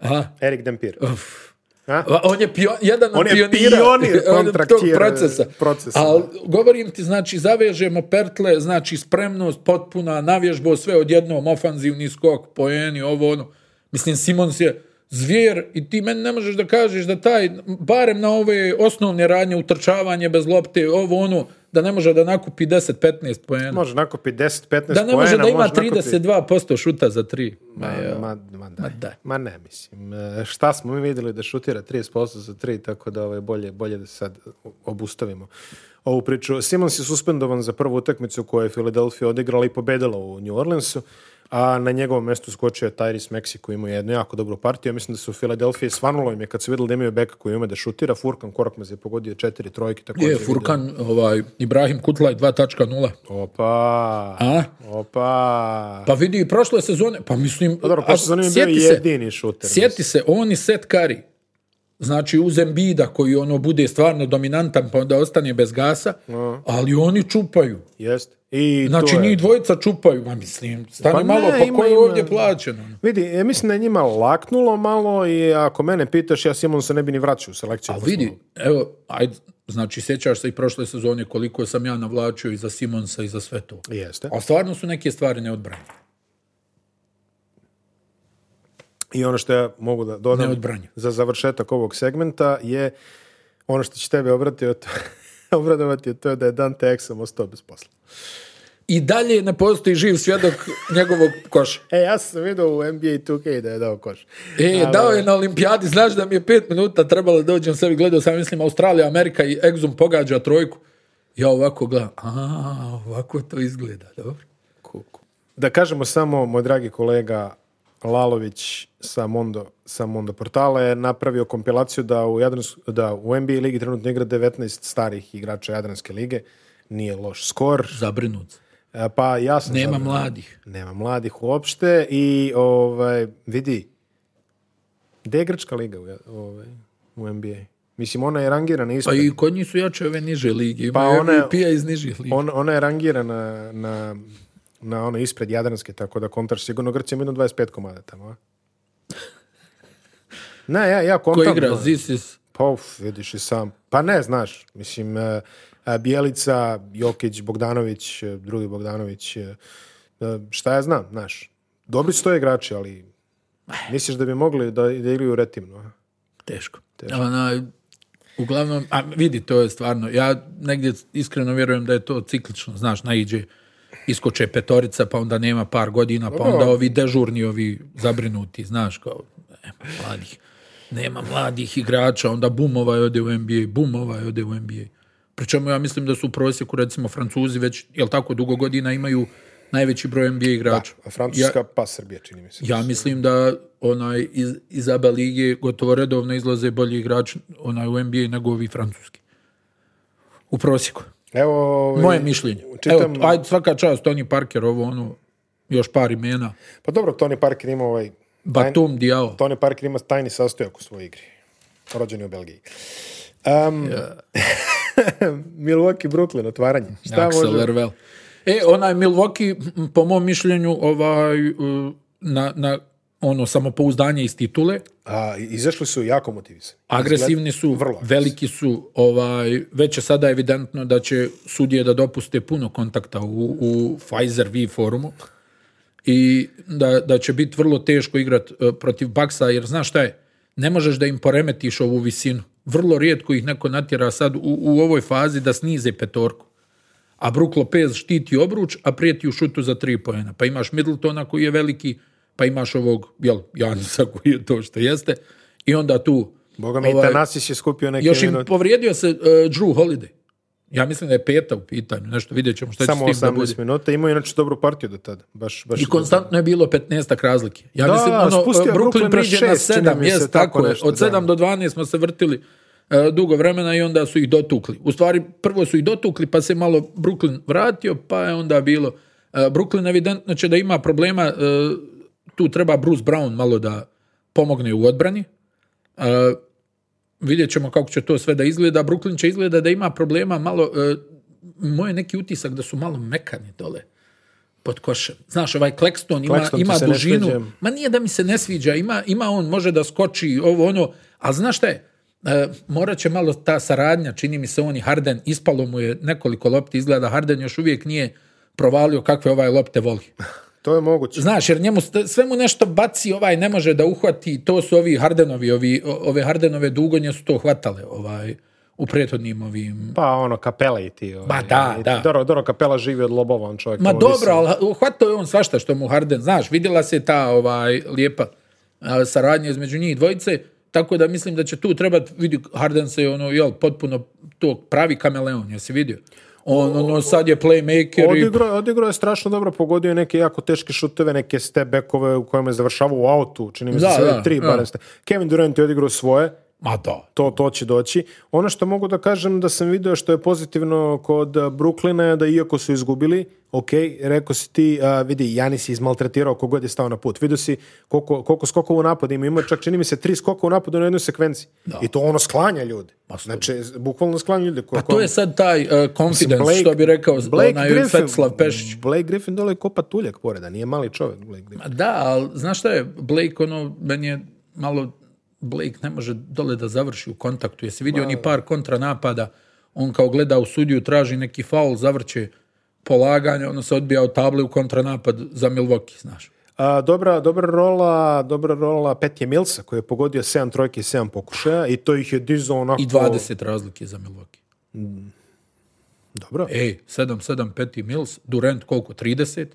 B: Aha.
A: Erik Dempir. A?
B: Va- Pa On je pio- jedan od
A: On je
B: pionira *laughs*
A: pionir
B: tog
A: kontraktira-
B: procesa.
A: procesa,
B: Ali
A: da.
B: govorim ti, znači, zavežemo pertle, znači, spremnost potpuna, navježbo sve odjednom, ofanzivni skok, poeni, ovo, ono. Mislim, Simons je zvijer i ti meni ne možeš da kažeš da taj, barem na ove osnovne radnje, utrčavanje bez lopte, ovo, ono, da ne može da nakupi 10-15 poena.
A: Može nakupiti 10-15 pojena.
B: Da ne može da ima
A: nakupiti-
B: 32% šuta za tri. Ma, jel.
A: Ma, ma, daj. ma,
B: daj.
A: ne, mislim. E, Šta smo mi vidjeli da šutira 30% za 3, tako da ovaj, bolje, bolje da sad obustavimo ovu priču. Simons je suspendovan za prvu utakmicu koju je Philadelphia odigrala i pobedala u New Orleansu, a na njegovom mjestu skočio je Tyrese Maxey koji imao jednu jako dobru partiju. Ja mislim da su u Philadelphia svanulo im je kad su vidjeli da imaju beka koji ume da šutira. Furkan Korakmaz je pogodio četiri trojke. također
B: Je,
A: vidio.
B: Furkan, ovaj, Ibrahim Kutlaj 2.0.
A: Opa!
B: A?
A: Opa!
B: Pa vidi i prošle sezone, pa mislim...
A: Pa dobro, prošle
B: a-
A: sezone je bio
B: sjeti
A: jedini šuter,
B: Sjeti se, on i Seth Curry, znači uz Embida koji ono bude stvarno dominantan pa onda ostane bez gasa, ali oni čupaju.
A: Jeste. I to
B: Znači
A: je-
B: njih dvojica čupaju, ma mislim, stani
A: Pa ne,
B: malo, pa
A: ima,
B: ko je
A: ima.
B: ovdje ono? plaćeno?
A: Vidi, ja mislim da je njima laknulo malo i ako mene pitaš, ja Simon se ne bi ni vraćao u selekciju.
B: A vidi,
A: ono.
B: evo, ajde, znači sjećaš se i prošle sezone koliko sam ja navlačio i za Simonsa i za sve to.
A: Jeste.
B: A stvarno su neke stvari neodbranjive.
A: I ono što ja mogu da dodam
B: Neodbranjivo.
A: za završetak ovog segmenta je ono što će tebe obratiti od *laughs* obradovati je to da je Dante Exum ostao bez posla.
B: I dalje ne postoji živ svjedok njegovog koša.
A: E, ja sam vidio u NBA 2K da je dao koš.
B: E,
A: Ali-
B: dao je na olimpijadi, znaš da mi je pet minuta trebalo da dođem sebi, gledao sam, mislim, Australija, Amerika i Exum pogađa trojku. Ja ovako gledam, a, ovako to izgleda, dobro.
A: Da kažemo samo, moj dragi kolega Lalović sa Mondo, sa Mondo portala je napravio kompilaciju da u, Jadrans- da u NBA ligi trenutno igra 19 starih igrača Jadranske lige. Nije loš skor.
B: Zabrinut. sam.
A: E, Pa ja sam
B: Nema
A: zabrinut.
B: mladih.
A: Nema mladih uopšte i ovaj, vidi, gde je Grčka liga u, ja- ovaj, u NBA? Mislim, ona je rangirana
B: Pa
A: ispred.
B: i kod njih su jače ove niže lige,
A: Pa
B: imaju
A: one-
B: MVP-a iz nižih liga.
A: On- ona je rangirana na, na ono ispred Jadranske, tako da kontaš sigurno Grci ima jedno 25 komada tamo,
B: *laughs*
A: a? Ne, ja, ja
B: Ko
A: kontam.
B: igra?
A: ono.
B: Zisis.
A: Pa uf, vidiš i sam. Pa ne, znaš, mislim, e, e, Bjelica, Jokić, Bogdanović, e, drugi Bogdanović, e, e, šta ja znam, znaš. Dobri su to igrači, ali misliš da bi mogli da, da igraju retimno? a?
B: Teško. Onaj, uglavnom, a vidi, to je stvarno, ja negdje iskreno vjerujem da je to ciklično, znaš, naiđe iskoče petorica, pa onda nema par godina, pa onda ovi dežurni, ovi zabrinuti, znaš, kao, nema mladih, nema mladih igrača, onda bum, ovaj ode u NBA, bum, ovaj ode u NBA. Pričemu ja mislim da su u prosjeku, recimo, Francuzi već, jel tako, dugo godina imaju najveći broj NBA igrača.
A: A Francuska pa Srbija, čini mi se.
B: Ja mislim da onaj iz, iz ABA lige gotovo redovno izlaze bolji igrači onaj u NBA nego ovi francuski. U prosjeku.
A: Evo, ovaj,
B: Moje mišljenje.
A: čitam-
B: Evo, ajde svaka čast Tony Parker ovo ono još par imena.
A: pa dobro, Tony Parker ima ovaj...
B: Batum Diao.
A: Tony Parker ima tajni sastojak u svojoj igri. Rođen je u Belgiji. E, Um, *laughs* Milwaukee, Brooklyn, otvaranje. Šta
B: Axel
A: može?
B: Lervell. E, onaj Milwaukee, m, po mom mišljenju, ovaj, uh, na, na ono samopouzdanje iz titule,
A: A, izašli su jako motivisani.
B: agresivni su,
A: Vrlo agresivni.
B: veliki su, ovaj, već je sada evidentno da će sudije da dopuste puno kontakta u, u Pfizer V forumu i da, da će biti vrlo teško igrat e, protiv Baksa, jer znaš šta je, ne možeš da im poremetiš ovu visinu. Vrlo rijetko ih neko natjera sad u, u ovoj fazi da snize petorku. A Brook Lopez štiti obruč, a prijeti u šutu za tri pojena. Pa imaš Middletona koji je veliki, pa imaš ovog, jel, Janisa koji je to što jeste. I onda tu...
A: Boga mi,
B: ovaj,
A: Tanasis je skupio neke
B: još im
A: minute.
B: povrijedio se uh, Drew Holiday. Ja mislim da je peta u pitanju, nešto vidjet ćemo šta
A: Samo
B: će s tim da bude.
A: 18 minuta. Imao je inače dobru partiju do tada. Baš, baš
B: I konstantno je bilo 15 razlike. Ja
A: Da,
B: mislim, ono,
A: spustio je Brooklyn na
B: Brooklyn priđe na
A: šest, čini
B: 7,
A: mi se,
B: jest,
A: tako
B: tako je.
A: nešto,
B: Od
A: da.
B: 7 do 12 smo se vrtili e, dugo vremena i onda su ih dotukli. U stvari, prvo su ih dotukli, pa se malo Brooklyn vratio, pa je onda bilo... e, Brooklyn evidentno će da ima problema, e, tu treba Bruce Brown malo da pomogne u odbrani. E, vidjet ćemo kako će to sve da izgleda. Brooklyn će izgleda da ima problema malo... e, moj je neki utisak da su malo mekani dole pod košem. Znaš, ovaj Klekston ima,
A: Claxton ti
B: ima
A: se ne
B: dužinu.
A: sviđa.
B: Ma nije da mi se ne sviđa, ima, ima on, može da skoči, ovo ono, a znaš šta je? E, morat će malo ta saradnja, čini mi se on i Harden, ispalo mu je nekoliko lopti, izgleda Harden još uvijek nije provalio kakve ovaj lopte voli.
A: To je moguće.
B: Znaš, jer njemu st- sve mu nešto baci, ovaj ne može da uhvati, to su ovi Hardenovi, ovi, o- ove Hardenove dugonje su to hvatale ovaj, u prethodnim ovim
A: Pa ono, Kapela i ti.
B: Ba, da, da.
A: Doro, Doro Kapela živi od lobova, on čovjek.
B: Ma
A: ono,
B: dobro,
A: mislim.
B: ali hvatao je on svašta što mu Harden, znaš, vidjela se ta ovaj lijepa a, saradnja između njih dvojice, tako da mislim da će tu trebati, vidi, Harden se ono, jel, potpuno to pravi kameleon, jesi vidio? On, ono, sad je playmaker i...
A: Odigrao, odigrao je strašno dobro, pogodio je neke jako teške šuteve, neke stebekove u kojima je završavao u autu, čini mi se
B: Da,
A: sve
B: da,
A: tri,
B: da.
A: barem ste. Kevin Durant je odigrao svoje,
B: Ma da.
A: to, to će doći. Ono što mogu da kažem da sam video što je pozitivno kod a, Brooklyna je da iako su izgubili, ok, rekao si ti, a, vidi, Janis je izmaltretirao kogod je stao na put. Vidio si koliko, koliko skokova u napadu ima, ima čak čini mi se tri skoka u napadu na jednoj sekvenciji. I to ono sklanja ljude. Znači, bukvalno sklanja ljude.
B: Pa to je sad taj e, confidence,
A: Blake-
B: što bi rekao
A: Blake
B: onaj
A: Griffin-
B: Fetslav Pešić.
A: Blake Griffin dole kopa tuljak pored, a nije mali čovjek Blake Griffin.
B: Ma Da, ali znaš šta je, Blake ono, meni je malo, Blake ne može dole da završi u kontaktu, jesi vidio ni par kontranapada, on kao gleda u sudiju, traži neki faul, zavrće polaganje, ono se odbija od table u kontranapad za Milwaukee, znaš.
A: A, dobra, dobra rola, dobra rola Petje Milsa koji je pogodio 7 trojke i 7 pokušaja i to ih je dizao onako...
B: I 20 razlike za Milwaukee.
A: Dobro.
B: Ej, 7-7 Peti Mills, Durant koliko, 30?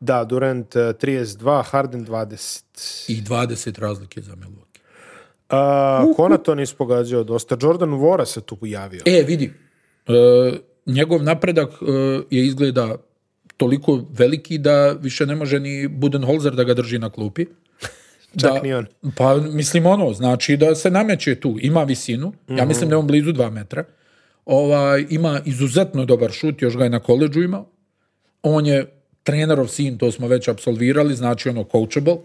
A: Da, Durant e, 32, Harden 20.
B: I 20 razlike za Milwaukee.
A: A, Konaton je ispogađao dosta. Jordan Vora se tu javio.
B: E, vidi, e, njegov napredak e, je izgleda toliko veliki da više ne može ni Budenholzer da ga drži na klupi.
A: *laughs* Čak ni on.
B: Pa mislim ono, znači da se nameće tu, ima visinu,
A: Mhm.
B: ja mislim da je on blizu dva metra, ovaj, ima izuzetno dobar šut, još ga je na koleđu imao, on je trenerov sin, to smo već absolvirali, znači ono coachable,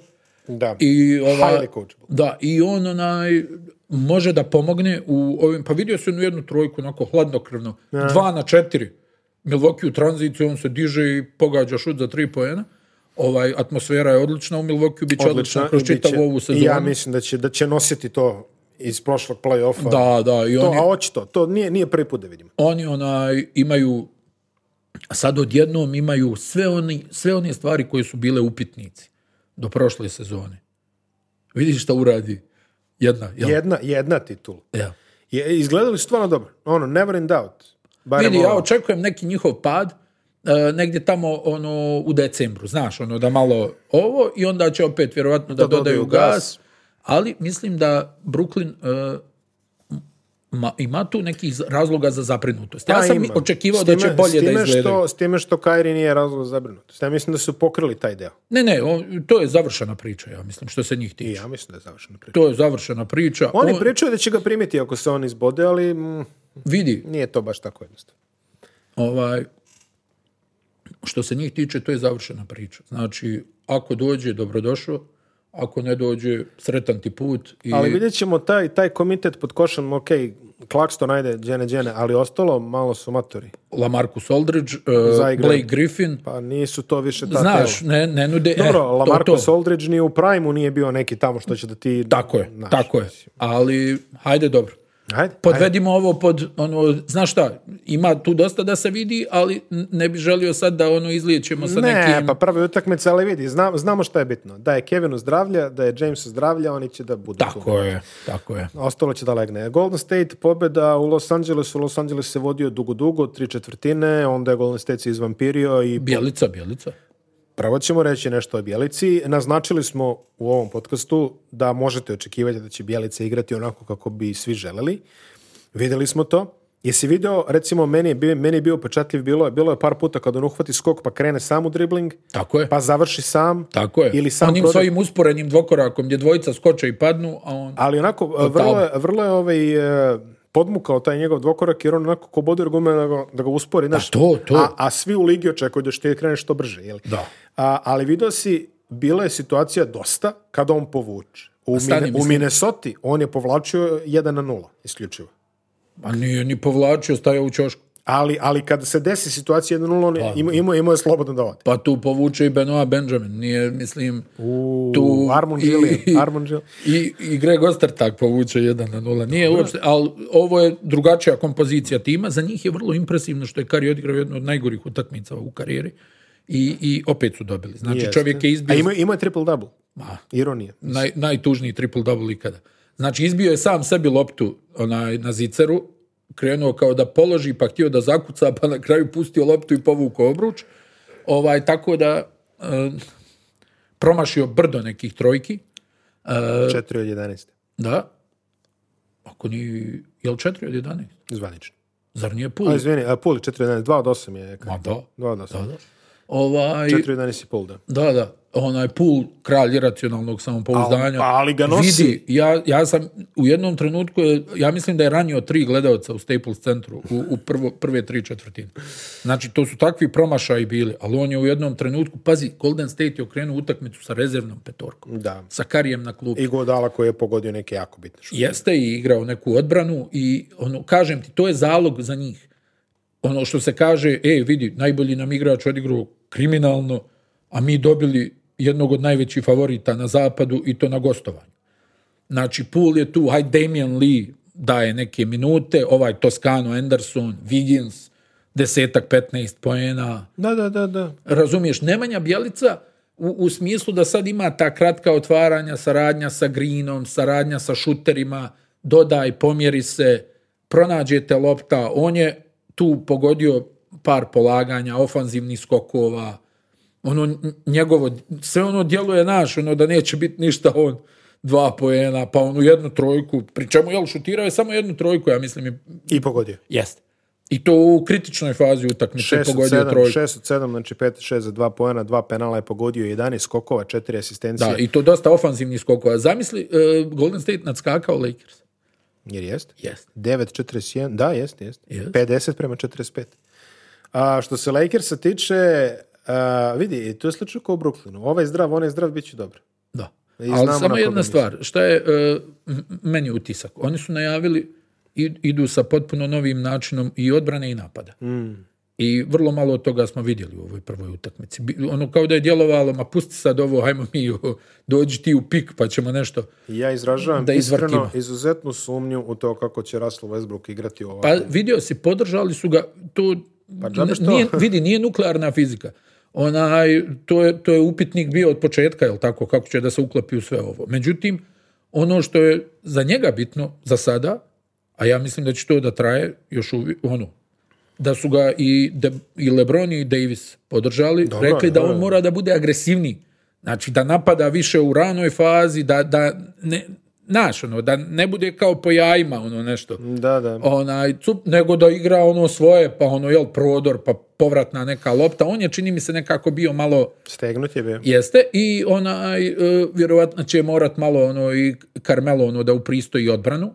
A: da.
B: i ova,
A: Highly coachable.
B: da, i on onaj može da pomogne u ovim, pa vidio se jednu jednu trojku, onako hladnokrvno, dva na četiri, Milwaukee u tranziciji, on se diže i pogađa šut za tri poena, ovaj, atmosfera je odlična u Milwaukee, bit će odlična, kroz
A: i bit će-
B: čitavu ovu
A: i
B: sezonu.
A: Ja mislim da će, da će nositi to iz prošlog play-offa.
B: da, da, i
A: To,
B: oni,
A: a očito, to nije, nije prvi put da vidimo.
B: oni onaj, imaju, sad odjednom imaju sve, oni, sve one stvari koje su bile upitnici do prošle sezone. Vidiš šta uradi jedna, jel?
A: Jedna, jedna titula.
B: Ja.
A: Je, izgledali su stvarno dobro. Ono, never in doubt. Barem ono.
B: Vidi, ja
A: ovo.
B: očekujem neki njihov pad e, negdje tamo ono u decembru, znaš, ono da malo ovo i onda će opet vjerojatno da,
A: Da dodaju
B: dodaju gas,
A: gas.
B: ali mislim da Brooklyn e, ma- ima tu nekih z- razloga za zabrinutost. Ja,
A: Pa,
B: sam
A: ima.
B: očekivao
A: S time-
B: da će bolje
A: s time
B: da izgledaju.
A: Što, s time što Kairi nije razlog za zabrinutost. Ja mislim da su pokrili taj deo.
B: Ne, ne, o- to je završena priča, ja mislim, što se njih
A: I
B: tiče.
A: ja mislim da je završena priča.
B: To je završena priča.
A: Oni
B: On-
A: pričaju da će ga primiti ako se on izbode, ali mm,
B: vidi,
A: nije to baš tako jednostavno.
B: ovaj, što se njih tiče, to je završena priča. Znači, ako dođe, dobrodošao, ako ne dođe, sretan ti put. I...
A: Ali vidjet ćemo taj, taj komitet pod košem, ok, Klakston, ajde, džene, džene, ali ostalo malo su matori.
B: Lamarcus Aldridge, uh,
A: Zaigre.
B: Blake Griffin,
A: Pa nisu to više ta
B: znaš,
A: tela.
B: ne, ne nude... e,
A: Dobro,
B: to,
A: Lamarcus
B: to.
A: Aldridge ni u Prime-u nije bio neki tamo što će da ti...
B: Tako je,
A: znaš.
B: tako je. Ali, hajde dobro.
A: Ajde, ajde.
B: Podvedimo ovo pod, ono, znaš šta, ima tu dosta da se vidi, ali n- ne bi želio sad da ono izlijećemo sa
A: ne,
B: nekim...
A: pa prve utakmice, ali vidi, znam- znamo šta je bitno. Da je Kevinu zdravlja, da je Jamesu zdravlja, oni će da budu tu.
B: Tako je, tako je.
A: Ostalo će da legne. Golden State pobjeda u Los Angelesu. Los Angeles se vodio dugo, dugo, tri četvrtine, onda je Golden State se izvampirio i
B: Bjelica, bjelica.
A: prvo ćemo reći nešto o Bjelici. Naznačili smo u ovom podcastu da možete očekivati da će Bjelica igrati onako kako bi svi želeli. Vidjeli smo to. Jesi video, recimo, meni je bio, meni je bio upečatljiv, bilo je, bilo je par puta kad on uhvati skok pa krene sam u dribling,
B: Tako je.
A: pa završi sam.
B: Tako je.
A: Ili sam
B: Onim
A: proda-
B: svojim usporenim dvokorakom gdje dvojica skoče i padnu, a on...
A: Ali onako, vrlo, je- vrlo je ovaj, e, podmukao taj njegov dvokorak, jer on onako ko bodir gume da ga, da ga uspori. znaš.
B: Pa to, to.
A: A, a svi u ligi očekuju da što kreneš što brže. Jeli?
B: Da.
A: A, ali video si, bila je situacija dosta kada on povuče. U,
B: stani,
A: Mine, u
B: mislim-
A: Minnesota on je povlačio 1 na 0, isključivo.
B: A nije ni povlačio, stajao u čošku.
A: Ali, ali kada se desi situacija 1 na 0, on je- ima, ima, ima je slobodno da ode.
B: Pa tu povuče i Benoit Benjamin. Nije, mislim...
A: Tu, Armon
B: i-
A: Gillian, Armon Gillian.
B: I, I Greg Ostertag povuče 1 na 0. Nije uopšte, ali ovo je drugačija kompozicija tima. Za njih je vrlo impresivno što je Kari odigrao jednu od najgorih utakmica u karijeri. I, i opet su dobili. Znači
A: Jeste.
B: čovjek je
A: A
B: izbio
A: ima, ima je triple-double. Ironija.
B: naj, najtužniji triple-double ikada. Znači, izbio je sam sebi loptu onaj, na ziceru, krenuo kao da položi, pa htio da zakuca, pa na kraju pustio loptu i povukao obruč. Ovaj, tako da e, promašio brdo nekih trojki. E.
A: 4 od 11.
B: Da. Ako ni... Je li 4 od 11?
A: Zvanično.
B: Zar nije
A: A,
B: pul?
A: Pa izvini, e, a, Puli 4 od 11, 2 od 8 je.
B: Ma da.
A: 2 od 8.
B: Da, da. Ovaj,
A: 4 11 i pol, da.
B: Da, da. Onaj pul kralj iracionalnog samopouzdanja.
A: A- ali ga nosi.
B: Vidi, ja, ja sam u jednom trenutku, je- ja mislim da je ranio tri gledalca u Staples centru u, u prvo, prve tri četvrtine. Znači, to su takvi promašaji bili, ali on je u jednom trenutku, pazi, Golden State je okrenuo utakmicu sa rezervnom petorkom,
A: Da.
B: sa karijem na klubu.
A: I Godala koji je pogodio neke jako bitne šuteve.
B: Jeste i igrao neku odbranu i ono, kažem ti, to je zalog za njih. Ono što se kaže, e, vidi, najbolji nam igrač odigrao kriminalno, a mi dobili jednog od najvećih favorita na zapadu i to na gostovanju. Znači, Pool je tu, haj Damian Lee daje neke minute, ovaj Toscano Anderson, Wiggins, desetak, 15 poena,
A: Da, da, da, da.
B: razumiješ, Nemanja Bjelica u, u smislu da sad ima ta kratka otvaranja, saradnja sa Greenom, saradnja sa šuterima, dodaj, pomjeri se, pronađete lopta, on je tu pogodio par polaganja, ofanzivnih skokova, ono n- njegovo, sve ono djeluje naš, ono da neće biti ništa on dva poena, pa onu jednu trojku, pri čemu jel šutirao je samo jednu trojku, ja mislim i
A: I pogodio.
B: jeste. I to u kritičnoj fazi utakmice
A: 6
B: je
A: od
B: pogodio
A: 7,
B: trojku.
A: 6 od 7, znači 5 6 za 2 poena, 2 penala je pogodio, 11 skokova, 4 asistencije.
B: Da, i to dosta ofanzivnih skokova. Zamisli, e, Golden State nadskakao Lakers.
A: Jer jeste?
B: Jeste.
A: 9 41, da, jeste, jeste.
B: Jest.
A: 50 prema 45. A što se Lakersa tiče, a, vidi, to je slično kao u Brooklynu. Ovaj zdrav, onaj zdrav, bit će dobro.
B: Da.
A: I znamo
B: Ali
A: na
B: samo
A: koga
B: jedna
A: mislim.
B: stvar, šta je e, m- meni utisak? Oni su najavili, i- idu sa potpuno novim načinom i odbrane i napada. I vrlo malo od toga smo vidjeli u ovoj prvoj utakmici. Bi- Ono kao da je djelovalo, ma pusti sad ovo, hajmo mi, *laughs* o, dođi ti u pik, pa ćemo nešto.
A: Ja izražavam
B: Da
A: iskreno
B: izvrtimo.
A: izuzetnu sumnju u to kako će Russell Westbrook igrati ovo.
B: Pa vidio si, podržali su ga, to
A: Ovaj. Pa džabe što.
B: nije, vidi, nije nuklearna fizika. Onaj, to, je, to je upitnik bio od početka, jel tako, kako će da se uklopi u sve ovo. Međutim, ono što je za njega bitno za sada, a ja mislim da će to da traje još uvijek, ono, da su ga i, De, i Lebron i Davis podržali,
A: Dobro,
B: rekli da
A: dobro.
B: on mora da bude agresivniji. Znači, da napada više u ranoj fazi, da, da ne, znaš, ono, da ne bude kao po jajima, ono nešto
A: Da, da.
B: onaj cup, nego da igra ono svoje, pa ono, jel, prodor, pa povratna neka lopta. On je, čini mi se, nekako bio malo,
A: Stegnut je bio.
B: jeste, i onaj, e, vjerovatno će morat malo, ono, i Carmelo, ono, da upristoji odbranu,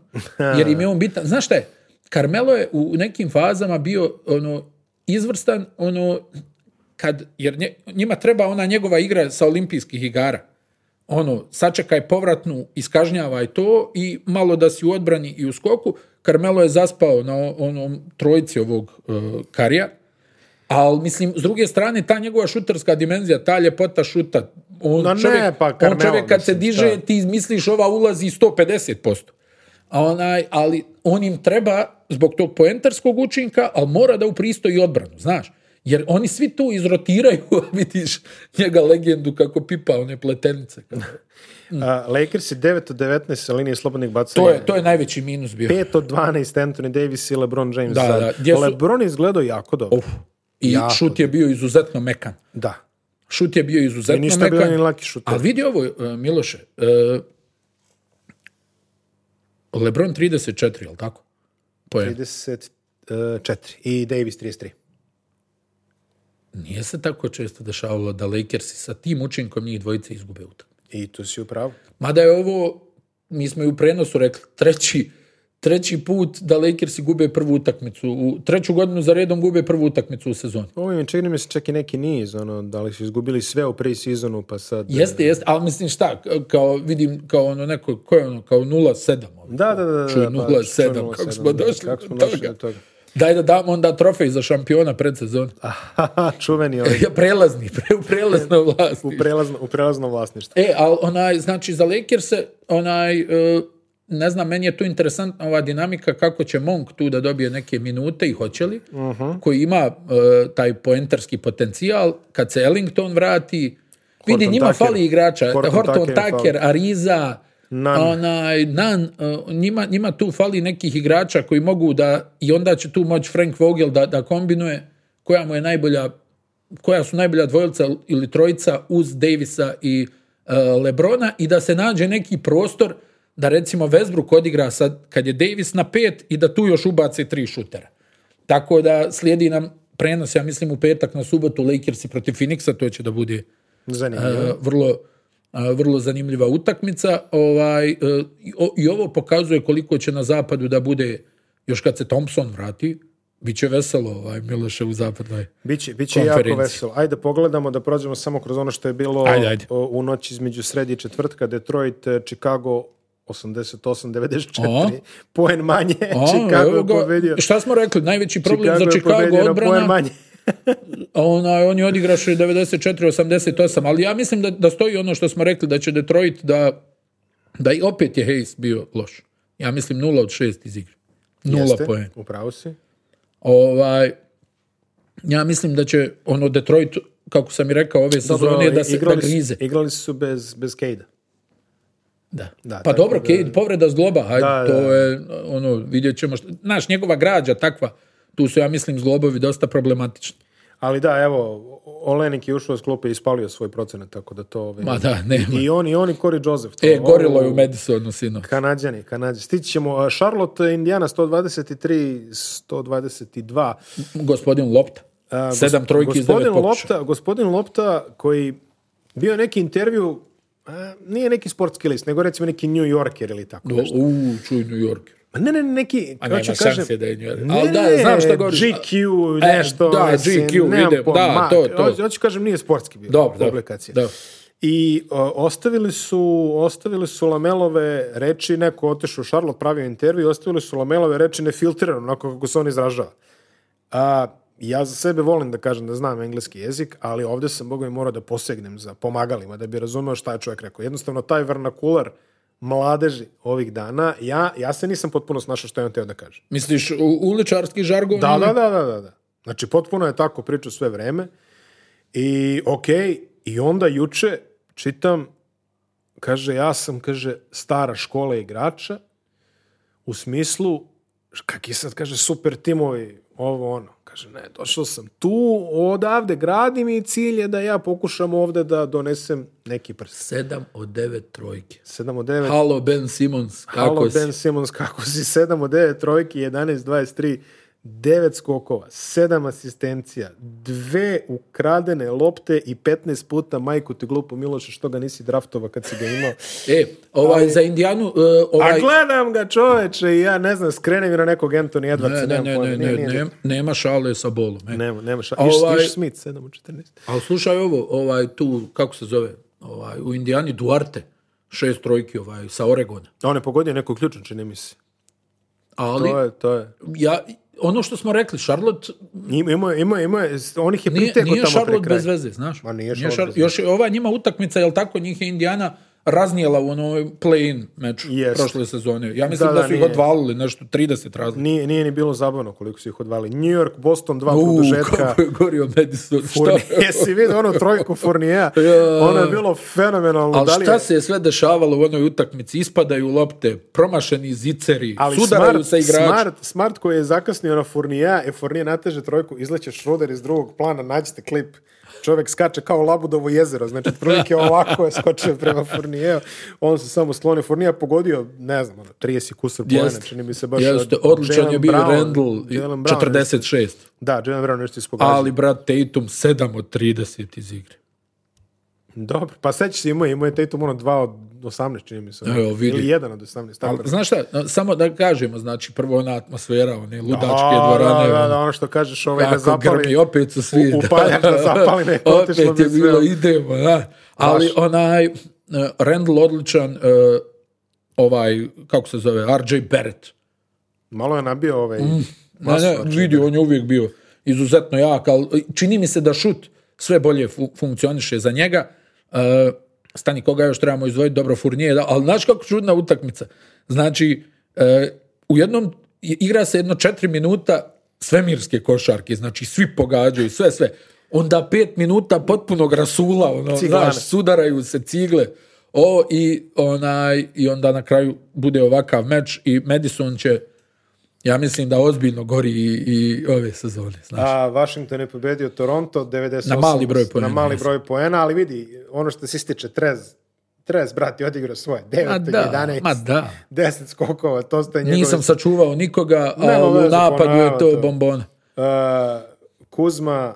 B: jer im je on bitan. Znaš šta je? Carmelo je u nekim fazama bio, ono, izvrstan, ono, kad, jer nje- njima treba ona njegova igra sa olimpijskih igara. ono, sačekaj povratnu, iskažnjavaj to i malo da si u odbrani i u skoku. Carmelo je zaspao na o- onom trojici ovog e, karija, ali mislim, s druge strane, ta njegova šuterska dimenzija, ta ljepota šuta, on,
A: Ma ne,
B: čovjek,
A: pa
B: on
A: Carmelo,
B: čovjek kad se
A: mislim,
B: diže,
A: šta?
B: ti misliš ova ulazi 150%. A onaj, ali on im treba zbog tog poentarskog učinka, ali mora da upristoji odbranu, znaš. Jer oni svi tu izrotiraju, *laughs* a vidiš njega legendu kako pipa one pletenice.
A: A, Lakers je 9 od 19 sa linije slobodnih bacanja.
B: To je, to je najveći minus bio.
A: 5 od 12 Anthony Davis i LeBron James.
B: Da,
A: Sad,
B: da, gdje su-
A: LeBron je izgledao jako dobro.
B: I
A: jako
B: šut je bio izuzetno mekan.
A: Da.
B: Šut je bio
A: I
B: izuzetno
A: ništa bio
B: mekan.
A: ni laki šuter.
B: Ali vidi ovo, e, Miloše. e, Lebron 34, jel tako? Poen.
A: 34. e, I Davis 33.
B: Nije se tako često dešavalo da Lakersi sa tim učinkom njih dvojice izgube utakmicu.
A: I tu si upravo.
B: Mada je ovo, mi smo i u prenosu rekli, treći, treći put da Lakersi gube prvu utakmicu. U treću godinu za redom gube prvu utakmicu u sezoni.
A: Ovo im je čini mi se čak i neki niz, ono, da li su izgubili sve u pre-seasonu, pa sad...
B: Jeste, jeste, ali mislim šta, kao vidim, kao ono neko, ko je ono, kao 0-7. ono.
A: Da, da, da. da,
B: Čuj,
A: da, pa, čuj,
B: 0-7, kako
A: 0-7,
B: smo
A: da,
B: došli
A: kako smo
B: do
A: došli
B: toga.
A: do toga. *laughs*
B: Daj da damo onda trofej za šampiona pred sezon.
A: Aha, čuveni ovaj
B: *laughs* Ja, prelazni, pre, u prelazno
A: *laughs* u,
B: vlasti.
A: prelazno, u prelaznom vlasništvu.
B: E, ali onaj, znači za Lakers-e, onaj, e, ne znam, meni je tu interesantna ova dinamika kako će Monk tu da dobije neke minute i hoće li,
A: Mhm.
B: koji ima e, taj poentarski potencijal, kad se Ellington vrati, vidi,
A: Horton
B: njima
A: Tucker.
B: fali igrača,
A: Horton
B: Horton, Tucker,
A: Tucker im fali. Mhm.
B: Ariza,
A: Nan.
B: onaj, Nan, e, njima, njima tu fali nekih igrača koji mogu da, i onda će tu moći Frank Vogel da, da kombinuje koja mu je najbolja, koja su najbolja dvojica ili trojica uz Davisa i e, Lebrona i da se nađe neki prostor da recimo Westbrook odigra sad kad je Davis na pet i da tu još ubace tri šutera. Tako da slijedi nam prenos, ja mislim u petak na subotu Lakersi protiv Phoenixa, to će da bude
A: Zanimljivo.
B: e, vrlo, a, vrlo zanimljiva utakmica. Ovaj, e, i o- I ovo pokazuje koliko će na zapadu da bude, još kad se Thompson vrati, bit će veselo ovaj, Miloše u zapadnoj.
A: Biće, biće jako
B: konferenciji.
A: veselo. Ajde, pogledamo da prođemo samo kroz ono što je bilo
B: Ajde, ajde.
A: o, u noći između sredi i četvrtka. Detroit, eh, Chicago 88-94.
B: O.
A: Poen manje.
B: A,
A: *laughs* Chicago
B: evo
A: je
B: ga.
A: pobedio.
B: Šta smo rekli? Najveći problem
A: Chicago
B: za
A: je pobedio
B: Chicago
A: na poen
B: odbrana,
A: manje.
B: a onaj, oni odigraše 94-88, ali ja mislim da, da stoji ono što smo rekli, da će Detroit da, da i opet je Hayes bio loš. Ja mislim 0 od 6 iz igre. 0
A: Jeste,
B: poen.
A: Upravo si.
B: Ovaj, ja mislim da će ono Detroit, kako sam i rekao, ove sezone da se da
A: igrali, su-
B: grize.
A: igrali su bez, bez Cade-a.
B: Da.
A: Da,
B: pa
A: tako
B: dobro,
A: da-
B: Cade, povreda zgloba, hajde,
A: Da,
B: to
A: da.
B: je, ono, vidjet ćemo. Što, znaš, njegova građa takva, tu su, ja mislim, zglobovi dosta problematični.
A: Ali da, evo, Olenik je ušao iz klupe i ispalio svoj procenat, tako da to... ovaj,
B: Ma da, nema.
A: I on, i on i Corey Joseph. To,
B: E, gorilo je
A: ovo-
B: u Madisonu, sino.
A: Kanadjani, Kanadjani. Stići ćemo. a, Charlotte, Indiana 123, 122.
B: Gospodin Lopta.
A: A, gos-
B: Sedam trojki iz devet
A: gospodin
B: pokušaja.
A: Lopta, gospodin Lopta koji bio neki intervju, a, nije neki sportski list, nego recimo neki New Yorker ili tako
B: Do-
A: nešto.
B: Uuu, čuj, New York.
A: Ma ne, ne, neki,
B: A
A: kako
B: nema
A: ću
B: šanse
A: kažem,
B: da je New York.
A: ne,
B: Ali da,
A: ne,
B: znam šta govoriš.
A: GQ,
B: E,
A: nešto.
B: da,
A: mislim,
B: GQ,
A: nemam
B: idem,
A: pojma.
B: da, to, to.
A: Hoću- hoću kažem, nije sportski bio
B: Dobro, dobro,
A: publikacija.
B: dobro.
A: I o, ostavili su, ostavili su Lamelove reči, neko otišao u Charlotte, pravio intervju, ostavili su Lamelove reči nefiltrirano, onako kako se on izražava. A, ja za sebe volim da kažem da znam engleski jezik, ali ovdje sam, boga mi, morao da posegnem za pomagalima, da bi razumeo šta je čovjek rekao. Jednostavno, taj vernakular mladeži ovih dana, ja, ja se nisam potpuno snašao što je on teo da kaže.
B: Misliš, u, uličarski žargon?
A: Da,
B: ili-
A: da, da, da, da, da. Znači, potpuno je tako pričao sve vreme. I, okej, i onda juče čitam, kaže, ja sam, kaže, stara škola igrača, u smislu, š- kaki sad, kaže, super timovi, ovo ono. Kaže, ne, došao sam tu, odavde gradim i cilj je da ja pokušam ovde da donesem neki prst.
B: Sedam od devet trojke.
A: 7 od 9,
B: Halo, Ben Simons, kako
A: Halo
B: si?
A: Ben Simmons, *laughs* kako si? 7 od 9 trojki, 11, 23, 9 skokova, 7 asistencija, dve ukradene lopte i 15 puta majku ti glupo Miloše što ga nisi draftova kad si ga
B: *laughs*
A: imao.
B: E, ovaj, za Indijanu, e,
A: A
B: ovaj...
A: gledam ga čoveče i ja ne znam, skrenem mi na nekog Anthony Edwardsa,
B: Ne, ne,
A: nemam
B: ne,
A: pojma,
B: ne,
A: nije,
B: ne,
A: nije
B: ne, nema šale sa bolom. E.
A: Nema, nema šta.
B: Ovaj-
A: Iš, Iš Smith, 7 od 14.
B: Ali slušaj ovo, ovaj tu, kako se zove, ovaj, u Indijani Duarte, šest trojki ovaj, sa Oregona.
A: On je pogodio neku ključnu, čini mi se.
B: Ali
A: To je, to je.
B: ja, ono što smo rekli, Charlotte
A: Ima, ima, ima, ima, on ih je
B: nije,
A: pritegao
B: nije
A: tamo pre
B: Charlotte
A: kraja.
B: bez veze, znaš.
A: Ma nije Charlotte
B: Char-
A: bez
B: Još je ova njima utakmica, jel tako, njih je Indijana raznijela u onoj play-in meču
A: Jest.
B: prošle sezone. Ja mislim da,
A: Da, da,
B: su ih
A: nije.
B: odvalili nešto 30 razlika.
A: Nije, nije ni bilo zabavno koliko su ih odvali. New York, Boston, dva
B: U,
A: produžetka.
B: kako je gorio Madison. Šta?
A: *laughs* Fournier, Jesi vidio onu trojku
B: *laughs*
A: Fournija? Ono je bilo fenomenalno.
B: Ali
A: Pa da li je-
B: šta se je sve dešavalo u onoj utakmici? Ispadaju lopte, promašeni ziceri,
A: ali
B: sudaraju
A: smart,
B: sa igračima.
A: Smart, smart koji je zakasnio na Fournija, e Fournija nateže trojku, izleće Schroeder iz drugog plana, nađete klip. Čovjek skače kao Labudovo jezero, znači otprilike ovako je skočio prema Fournijeju, on se samo slonio. Fournija pogodio, ne znam, ono, 30 kusur pojena,
B: Jeste.
A: čini mi se baš...
B: Jeste,
A: od-
B: odličan je
A: Jalen
B: bio
A: Brown-
B: Randall, i
A: Jalen Brown nešto-
B: 46.
A: Da, Jalen Brown nešto ispogađa.
B: Ali, brat, Tatum 7 od 30 iz igre.
A: Dobro, pa sećaš se imao, je- imao je Tatum ono 2 od 18, čini mi se.
B: Evo, vidi.
A: Ili 1 od 18. tako
B: Ali,
A: nešto.
B: znaš šta, no, samo da kažemo, znači, prvo ona atmosfera, one ludačke
A: A,
B: dvorane,
A: Da, da,
B: ono,
A: da, ono što kažeš, ovaj da
B: kako
A: zapali.
B: grmi, opet su svi.
A: u- upaljaš da zapali neko,
B: opet
A: otišlo bi
B: je bilo,
A: sve.
B: idemo, da. Ali onaj, eh, Randall odličan, eh, ovaj, kako se zove, RJ Barrett.
A: Malo je nabio ovaj...
B: Mm. Ne,
A: masu,
B: ne,
A: znači,
B: vidi, on je uvijek bio izuzetno jak, ali čini mi se da šut sve bolje fu- funkcioniše za njega. E, stani, koga još trebamo izdvojiti? Dobro, Furnije, da, ali znaš kako čudna utakmica. Znači, e, u jednom i- igra se jedno četiri minuta svemirske košarke, znači svi pogađaju, sve, sve. Onda pet minuta potpunog rasula, ono,
A: Ciglane.
B: znaš, sudaraju se cigle. O, i, onaj, I onda na kraju bude ovakav meč i Madison će ja mislim da ozbiljno gori i, i ove sezone. Znači.
A: A Washington je pobedio Toronto 98.
B: Na mali broj poena,
A: Na mali
B: mislim.
A: broj poena, ali vidi, ono što se ističe, Trez, Trez, brat, je odigrao svoje.
B: Ma
A: 9,
B: da,
A: 11,
B: ma da.
A: 10 skokova, to ste njegove...
B: Nisam sačuvao nikoga,
A: Nema
B: ali u
A: veze,
B: napadu je
A: ponavljam
B: to
A: to.
B: bombona.
A: Uh, Kuzma,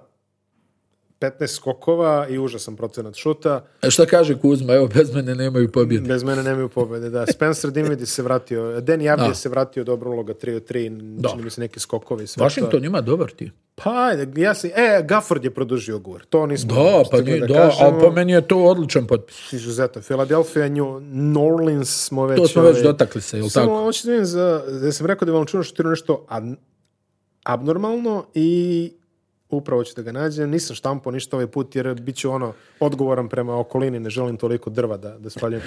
A: 15 skokova i užasan procenat šuta.
B: E, Šta kaže Kuzma, evo bez mene nemaju pobjede.
A: Bez mene nemaju pobjede, da. Spencer Dinwiddie se vratio, Dan Javdje se vratio dobro uloga 3 od 3, čini mi se neki skokovi. i Sve to.
B: Washington ima dobar ti.
A: Pa, ajde, ja se, e, Gafford je produžio ugovor, to nismo
B: Da, pa
A: stigli
B: nije, da,
A: kažemo.
B: ali po meni je to odličan potpis.
A: Izuzetno, Philadelphia, New, New Orleans smo već...
B: To smo već
A: ovaj,
B: dotakli se, jel
A: Samo
B: tako?
A: hoću da vidim za, da sam rekao da je Valančunas šutirao ono nešto ab- abnormalno i upravo ću da ga nađem. Nisam štampao ništa ovaj put jer bit ću ono odgovoran prema okolini, ne želim toliko drva da, da spaljujem.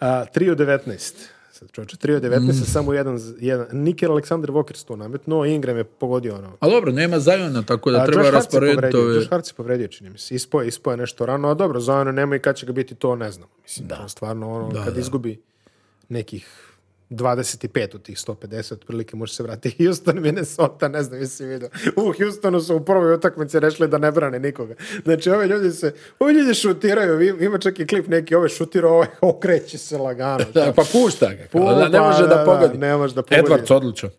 A: A, 3 od 19. Sad čovječe, 3 od 19 je
B: Mm.
A: samo jedan, z- jedan. Nikel Aleksandar Walker se tu nametno, Ingram je pogodio ono.
B: Ali dobro, nema Zajona, tako da
A: A,
B: treba
A: Josh Hart se
B: rasporediti
A: povredio,
B: ove...
A: Josh Hart se povredio, čini mi se. Ispoje, ispoje nešto rano, a dobro, za ono nema i kad će ga biti, to ne znam. Mislim, to stvarno ono, kad izgubi nekih 25 od tih 150, otprilike može se vratiti Houston, Minnesota, ne znam, jesi vidio. U Houstonu su u prvoj utakmici rešili da ne brane nikoga. Znači, ove ljudi se, ovi ljudi šutiraju, im- ima čak i klip neki, ove *laughs* šutirao, ovaj okreće se lagano.
B: Da, pa pušta ga. kao,
A: Pu-
B: da, ne
A: pa,
B: može
A: da,
B: da,
A: da,
B: pogodi.
A: ne može da pogodi.
B: Edwards odličan.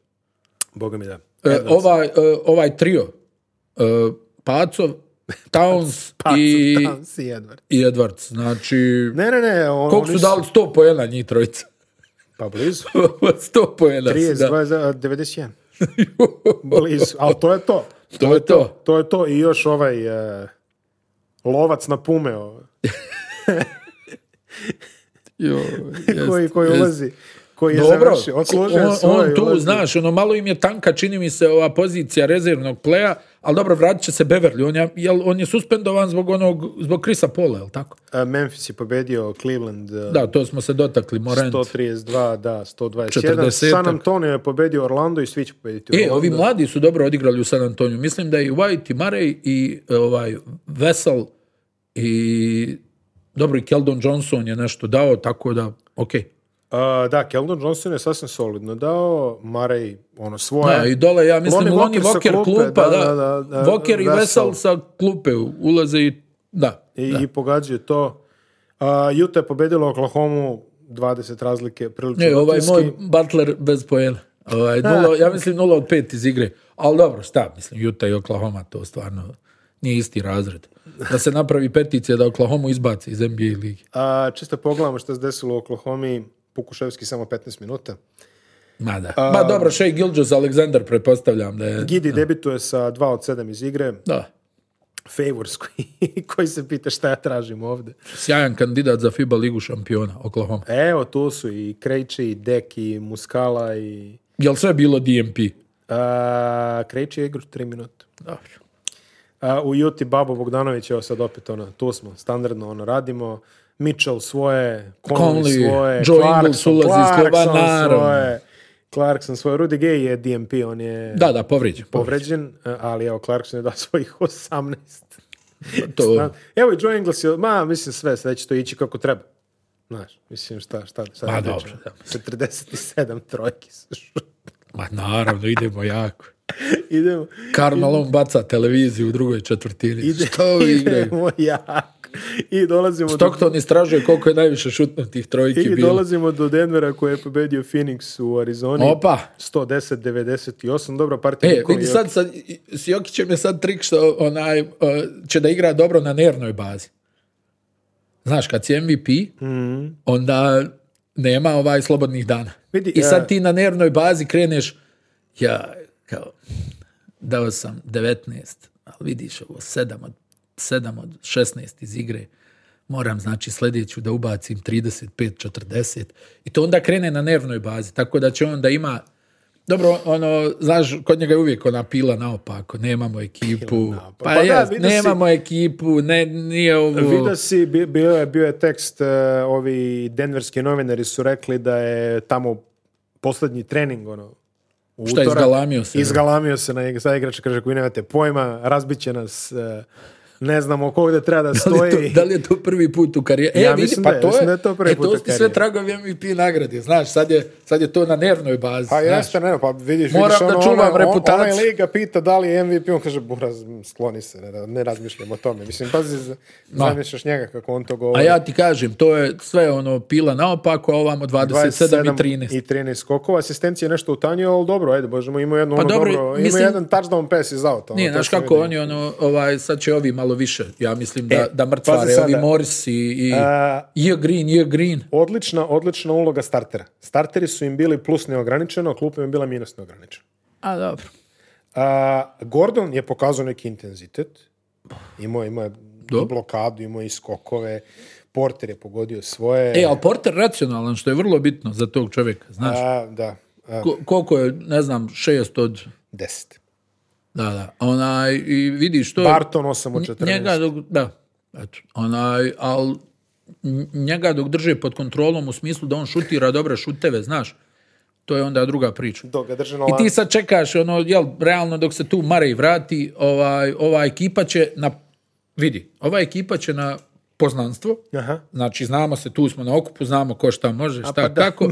A: Boga mi da.
B: E, ovaj, e, ovaj trio, e,
A: *laughs*
B: Pacov, Towns i,
A: I... Towns i Edwards.
B: i Edwards. Znači,
A: Ne, ne, ne. On,
B: Koliko
A: oni
B: su dali 100 poena njih trojica? *laughs*
A: Pa blizu.
B: 100 poena. su
A: 30,
B: dali.
A: 20,
B: *laughs*
A: 91. Blizu, ali to je to.
B: To je to.
A: To je to i još ovaj e, lovac na pume ovaj,
B: Jo, jest,
A: koji, koji
B: jest.
A: ulazi, koji je
B: Dobro,
A: završio, odslužio
B: on,
A: je svoje.
B: on tu,
A: ulazi.
B: znaš, ono malo im je tanka, čini mi se, ova pozicija rezervnog pleja, ali dobro, vratit će se Beverly. On je, jel, on je suspendovan zbog onog, zbog Krisa Pola, jel tako?
A: E, Memphis je pobedio Cleveland e,
B: Da, to smo se dotakli, Morant.
A: 132, da, 121.
B: 40-ak.
A: San Antonio je pobedio Orlando i svi će pobediti
B: E,
A: Orlando.
B: ovi mladi su dobro odigrali u San Antoniju. Mislim da i White i Murray i e, ovaj Vesel i dobro i Keldon Johnson je nešto dao, tako da, okej.
A: A, E, da, Keldon Johnson je sasvim solidno dao, Marej, ono, svoje.
B: Da, i dole, ja mislim,
A: Lonnie
B: Loni
A: Walker sa
B: Voker
A: klupe,
B: klupa, da,
A: da, da, da,
B: Walker i
A: Vesel.
B: Vesel sa klupe ulaze i, da.
A: I, i pogađaju to. A, Utah je pobedila Oklahoma 20 razlike, prilično
B: Ne, ovaj
A: rutinski.
B: moj Butler bez pojena. Ovaj, nula, ja mislim 0 od 5 iz igre. Ali dobro, šta, mislim, Utah i Oklahoma, to stvarno nije isti razred. Da se napravi peticija da Oklahoma izbaci iz NBA ligi.
A: A, čisto pogledamo što se desilo u Oklahomi, Pukuševski samo 15 minuta.
B: Ma da. Ma dobro, Shea Gilgis Alexander pretpostavljam da je...
A: Gidi debituje sa 2 od 7 iz igre.
B: Da.
A: Favors koji, *laughs* koji se pita šta ja tražim ovde.
B: Sjajan kandidat za FIBA ligu šampiona, Oklahoma.
A: Evo, tu su i Krejči, i Dek, i Muskala, i...
B: Jel sve bilo DMP?
A: A, Krejči je igru 3 minuta.
B: Dobro.
A: A, u Juti Babo Bogdanović, evo sad opet ono, tu smo, standardno ono, radimo. Mitchell svoje, Conley,
B: Conley,
A: svoje,
B: Joe Ingles ulazi iz kluba, naravno.
A: svoje, Clarkson svoje, Rudy Gay je DMP, on je
B: Da, da, povrijeđen.
A: povređen, e, ali evo, Clarkson je dao svojih 18.
B: povrijeđen. To,
A: Zna- Evo i Joe Ingles, je- ma, mislim sve, sve će to ići kako treba. Znaš, mislim šta, šta, šta
B: Ma,
A: da
B: dobro,
A: pričam.
B: da.
A: 47 trojki se šut-
B: ma naravno, idemo jako.
A: Idemo,
B: Karl Malone baca televiziju u drugoj četvrtini.
A: ide,
B: Što ovi igraju?
A: idemo jako. I dolazimo
B: Stockton istražuje koliko je najviše šutnutih
A: do,
B: trojki
A: i
B: bilo.
A: dolazimo do Denvera koji je pobedio Phoenix u Arizoni.
B: Opa!
A: 110-98, dobra partija.
B: E,
A: Nikola
B: vidi sad, sad, i- s Jokićem je sad trik što onaj, uh, će da igra dobro na nervnoj bazi. Znaš, kad si MVP,
A: Mhm.
B: onda nema ovaj slobodnih dana.
A: Vidi,
B: I
A: e,
B: sad ti na nervnoj bazi kreneš, ja, kao, dao sam 19, ali vidiš ovo, 7 od, 7 od 16 iz igre, moram, znači, sljedeću da ubacim 35, 40, i to onda krene na nervnoj bazi, tako da će on da ima, dobro, ono, znaš, kod njega je uvijek ona pila naopako, nemamo ekipu,
A: naopako.
B: pa,
A: Pa da,
B: jes,
A: vidi si-
B: nemamo ekipu, ne, nije ovo...
A: Vidio si, bi- bio je, bio je tekst, e, ovi denverski novinari su rekli da je tamo posljednji trening, ono, u
B: Šta,
A: utorak.
B: izgalamio se?
A: Izgalamio se na ig- sad igrač, kaže, koji nemate pojma, razbit će nas, e, ne znamo ko ovdje treba da
B: *laughs* Da li, je
A: stoji.
B: to, da li je to prvi put u karijeri?
A: Ja
B: e, vidi,
A: mislim
B: pa
A: da je,
B: to je,
A: mislim da je to prvi
B: e,
A: put u
B: to su ti sve
A: karijeri.
B: tragovi MVP nagrade, znaš, sad je, sad je to na nervnoj bazi.
A: Pa
B: znaš.
A: jeste, ne, pa vidiš,
B: Moram
A: vidiš
B: da
A: ono,
B: čuvam
A: ono, on-
B: reputaciju.
A: onaj liga pita da li je MVP, on kaže, buraz, skloni se, ne, ne razmišljam o tome. Mislim, pazi, z- zamišljaš njega kako on to
B: A
A: govori.
B: ja ti kažem, to je sve ono pila naopako, a ovamo 27, i 13.
A: i 13 skokova. Asistencija je nešto utanjio, ali dobro, ajde, božemo, imao jedno, ono
B: Pa dobro,
A: dobro, imao
B: mislim-
A: jedan touchdown pass iz auta. ono,
B: Nije,
A: to
B: znaš
A: sam
B: kako
A: vidio.
B: oni, ono, ovaj, sad će ovi malo više, ja mislim da, da
A: E, pazi
B: mrcvare,
A: sada.
B: ovi Morris i, i
A: A-
B: J. Green, J. Green.
A: E, Odlična, odlična uloga startera. Starteri su im bili plus neograničeno, a klupa im je bila minus neograničeno.
B: A dobro.
A: A, Gordon je pokazao neki intenzitet. Imao, je- imao je i blokadu, imao je i skokove. Porter je pogodio svoje.
B: E, ali Porter racionalan, što je vrlo bitno za tog čovjeka, znaš.
A: A, da, a,
B: Ko- koliko je, ne znam, šest od...
A: deset.
B: Da, da. Onaj, i vidiš to... je-
A: Barton 8 od 14.
B: Njega dok, da, eto, onaj, al n- njega dok drže pod kontrolom u smislu da on šutira dobre šuteve, znaš, to je onda druga priča.
A: Dok ga drže na
B: I ti
A: lancu.
B: sad čekaš, ono, jel, realno dok se tu Marej vrati, ovaj, ova ekipa će na, vidi, ova ekipa će na poznanstvo,
A: Aha.
B: znači znamo se, tu smo na okupu, znamo ko šta može, šta
A: pa da.
B: kako,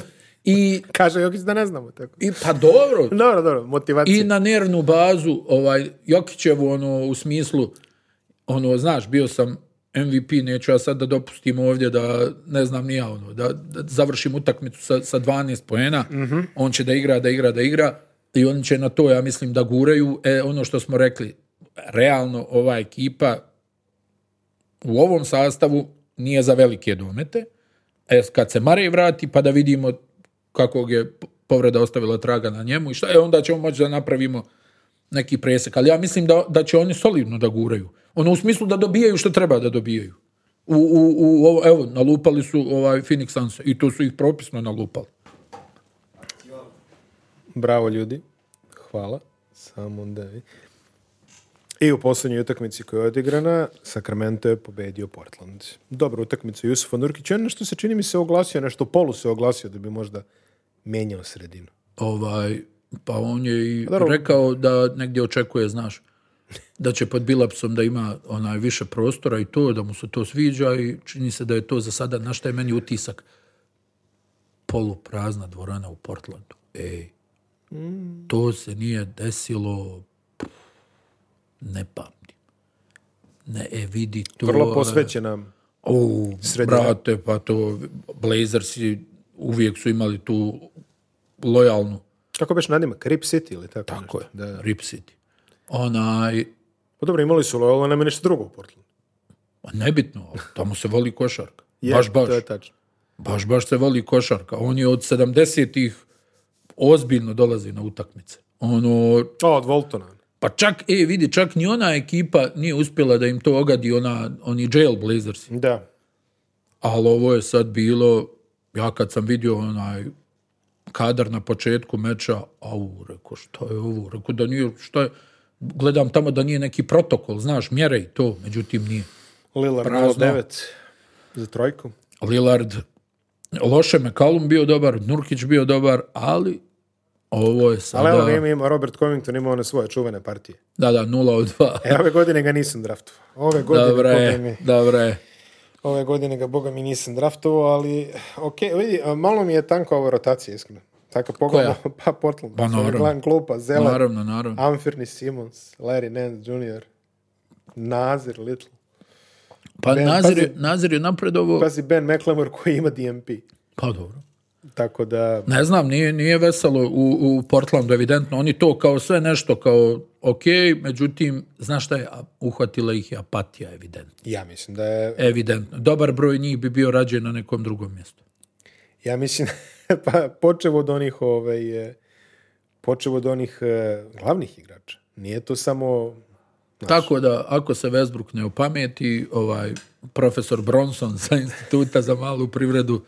B: i,
A: Kaže Jokić da ne znamo tako.
B: i pa dobro,
A: Dobro, dobro, motivacija.
B: i na nervnu bazu ovaj Jokićevu ono u smislu ono znaš bio sam MVP neću ja sad da dopustim ovdje da ne znam ni ja ono da, da završim utakmicu sa, sa 12 poena on će da igra da igra da igra i oni će na to ja mislim da guraju e ono što smo rekli realno ova ekipa u ovom sastavu nije za velike domete e kad se Marej vrati pa da vidimo kakvog je povreda ostavila traga na njemu i šta je, onda ćemo moći da napravimo neki presek. Ali ja mislim da, da će oni solidno da guraju. Ono u smislu da dobijaju što treba da dobijaju. U, u, u, ovo- evo, nalupali su ovaj Phoenix Suns i to su ih propisno nalupali.
A: Bravo ljudi. Hvala. Samo da vi- I u posljednjoj utakmici koja je odigrana, Sacramento je pobedio Portland. Dobra utakmica Jusufa Nurkića. Ono što se čini mi se oglasio, nešto polu se oglasio da bi možda menjao sredinu.
B: Ovaj, pa on je i
A: dobro.
B: rekao da negdje očekuje, znaš, da će pod Bilapsom da ima onaj više prostora i to, da mu se to sviđa i čini se da je to za sada, na šta je meni utisak, poluprazna dvorana u Portlandu. Ej,
A: Mm.
B: to se nije desilo, pff, ne pamtim. Ne, e, vidi to...
A: Vrlo
B: e,
A: posvećena.
B: o,
A: Sredina.
B: brate, pa to Blazersi uvijek su imali tu lojalnu
A: Kako beš nadimak? Rip City ili tako?
B: tako je,
A: nešto? Da.
B: Rip City. Onaj,
A: Pa dobro, imali su lojalno, nema ništa drugo u Portlandu.
B: ma nebitno, ali tamo se voli košarka.
A: Je,
B: baš, baš.
A: To je tačno.
B: Baš, baš se voli košarka. On je od 70-ih ozbiljno dolazi na utakmice. Ono,
A: O, od Voltona.
B: Pa čak, e, vidi, čak ni ona ekipa nije uspjela da im to ogadi, ona, oni jail blazers.
A: Da.
B: Ali ovo je sad bilo, ja kad sam vidio onaj kadar na početku meča, au, rekao, šta je ovo? Rekao da nije, šta je? Gledam tamo da nije neki protokol, znaš, mjere i to, međutim nije.
A: Lillard
B: Prazno.
A: 09 za trojku.
B: Lillard, loše McCallum bio dobar, Nurkić bio dobar, ali ovo je sada...
A: Ali evo nema, ima Robert Covington, ima one svoje čuvene partije.
B: Da, da, 0 od 2.
A: E, ove godine ga nisam draftovao. Ove godine,
B: Dobra
A: boga
B: je,
A: mi,
B: dobra je.
A: ove godine ga, boga mi, nisam draftovao, ali, ok, vidi, a, malo mi je tanka ova rotacija, iskreno. Tako pogledamo, *laughs* pa Portland,
B: Pa, naravno.
A: Glenn Klupa, Zeland,
B: Naravno, naravno.
A: Anferni Simons, Larry Nance Jr., Nazir Little.
B: Pa
A: Ben,
B: Nazir, je-
A: e, pazi.
B: Nazir je napredovo...
A: Pazi, Ben McLemore koji ima DMP.
B: Pa dobro.
A: Tako da,
B: Ne znam, nije, nije veselo u, u Portlandu, evidentno. Oni to kao sve nešto, kao ok, međutim, znaš šta je, a- uhvatila ih je apatija, evidentno.
A: ja mislim da je,
B: Evidentno. Dobar broj njih bi bio rađen na nekom drugom mjestu.
A: ja mislim, *laughs* pa počevo od onih, ovaj, eh, počevo od onih eh, glavnih igrača. Nije to samo
B: Tako da, ako se Westbrook ne opameti, ovaj, profesor Bronson sa Instituta za malu privredu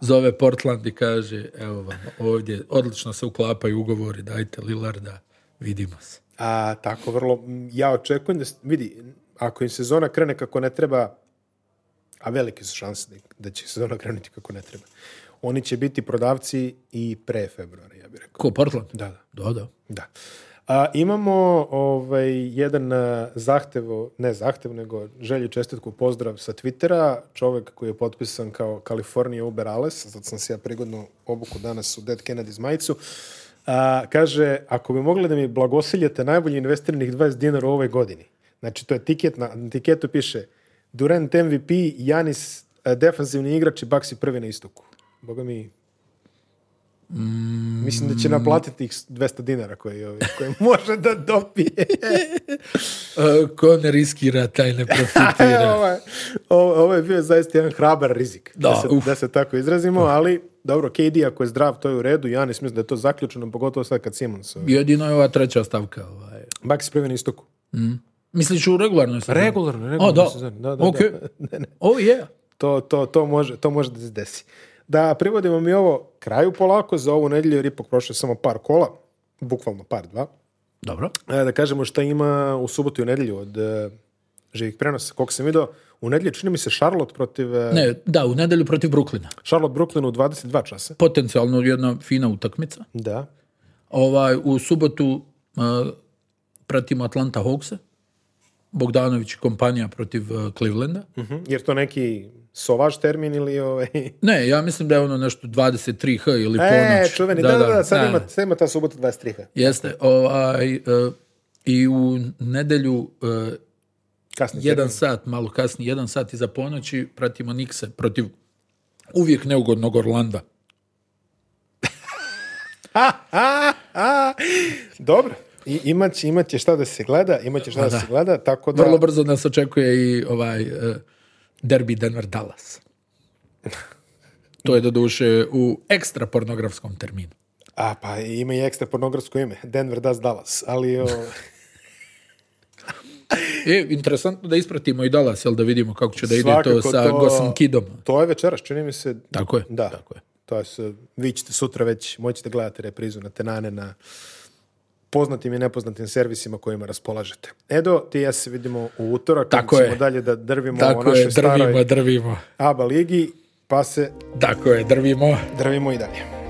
B: zove Portland i kaže, evo vam, ovdje, odlično se uklapaju ugovori, dajte Lillarda, vidimo se.
A: A, tako, vrlo, m, ja očekujem da, s- vidi, ako im sezona krene kako ne treba, a velike su šanse da, da će sezona krenuti kako ne treba, oni će biti prodavci i pre februara, ja bih rekao.
B: Ko, Portland?
A: Da, da.
B: Da, da.
A: Da. A, imamo ovaj, jedan a, zahtev, o- ne zahtev, nego želju čestitku pozdrav sa Twittera, čovjek koji je potpisan kao California Uber Ales, zato sam se ja prigodno obuku danas u Dead Kennedy majicu, a, kaže, ako bi mogli da mi blagosiljete najbolje investiranih 20 dinara u ovoj godini, znači to je tiket, na, na tiketu piše Durant MVP, Janis e, defanzivni igrač i Baxi prvi na istoku. Boga mi, Mislim da će naplatiti ih 200 dinara koje, ovaj, koje *laughs* može da *laughs* dobije.
B: E, ko ne riskira, taj
A: *laughs*
B: ne profitira.
A: ovo, je, ovo- Ovaj, ovo je bio zaista jedan hrabar rizik, da,
B: Da,
A: se,
B: uf.
A: da se tako izrazimo, ali dobro, KD ako je zdrav, to je u redu. Ja ne mislim da je to zaključeno, pogotovo sad kad Simons. ovaj,
B: Jedino je ova treća stavka. Ovaj.
A: Bak se prvi na istoku.
B: Misliš u regularnoj sezoni?
A: Regularno, regularno.
B: O, da.
A: sezoni. Da, da, da. *laughs*
B: Ok. O, je.
A: To, to, to, može, to može da se desi. Da, privodimo mi ovo kraju polako za ovu nedjelju, jer ipak prošlo je samo par kola, bukvalno par, dva.
B: Dobro.
A: E, da kažemo šta ima u subotu i u nedjelju od e, živih prenosa. Koliko sam vidio, u nedjelju čini mi se Charlotte protiv e,
B: Ne, da, u nedelju protiv Brooklyna.
A: Charlotte Brooklyn u 22 časa.
B: Potencijalno jedna fina utakmica.
A: Da.
B: Ovaj, u subotu e, pratimo Atlanta Hawksa. Bogdanović i kompanija protiv e, Clevelanda.
A: Mhm. Jer to neki sovaž termin ili ovaj...
B: Ne, ja mislim da je ono nešto 23H ili
A: E,
B: ponoć.
A: čuveni, da, da, da, sad,
B: ne,
A: ima,
B: ne.
A: sad ima ta subota 23.
B: Jeste. Ovaj, e, I u nedelju e,
A: Kasnije.
B: jedan sat, malo kasnije, jedan sat iza ponoći, pratimo Nikse protiv uvijek neugodnog Orlanda.
A: Dobro. I imat, će- imat će šta da se gleda, imat će šta da, se gleda, tako da...
B: Vrlo brzo nas očekuje i ovaj eh, derbi Denver Dallas. To je doduše u ekstra pornografskom terminu.
A: A, pa ima i ekstra pornografsko ime. Denver Das Dallas, ali... *laughs* O...
B: E, interesantno da ispratimo i Dallas, jel da vidimo kako će da ide to
A: svakako
B: sa Gosom Kidom.
A: To je večeras, čini mi se...
B: Tako je.
A: Da.
B: Tako je.
A: To je se, vi ćete sutra već, moćete gledati reprizu na Tenane na poznatim i nepoznatim servisima kojima raspolažete. Edo, ti i ja se vidimo u utorak.
B: Tako
A: ćemo
B: je.
A: dalje da drvimo o
B: Tako
A: našoj
B: je, drvimo,
A: staroj
B: drvimo.
A: ABA ligi, pa se
B: Tako je, drvimo.
A: drvimo i dalje.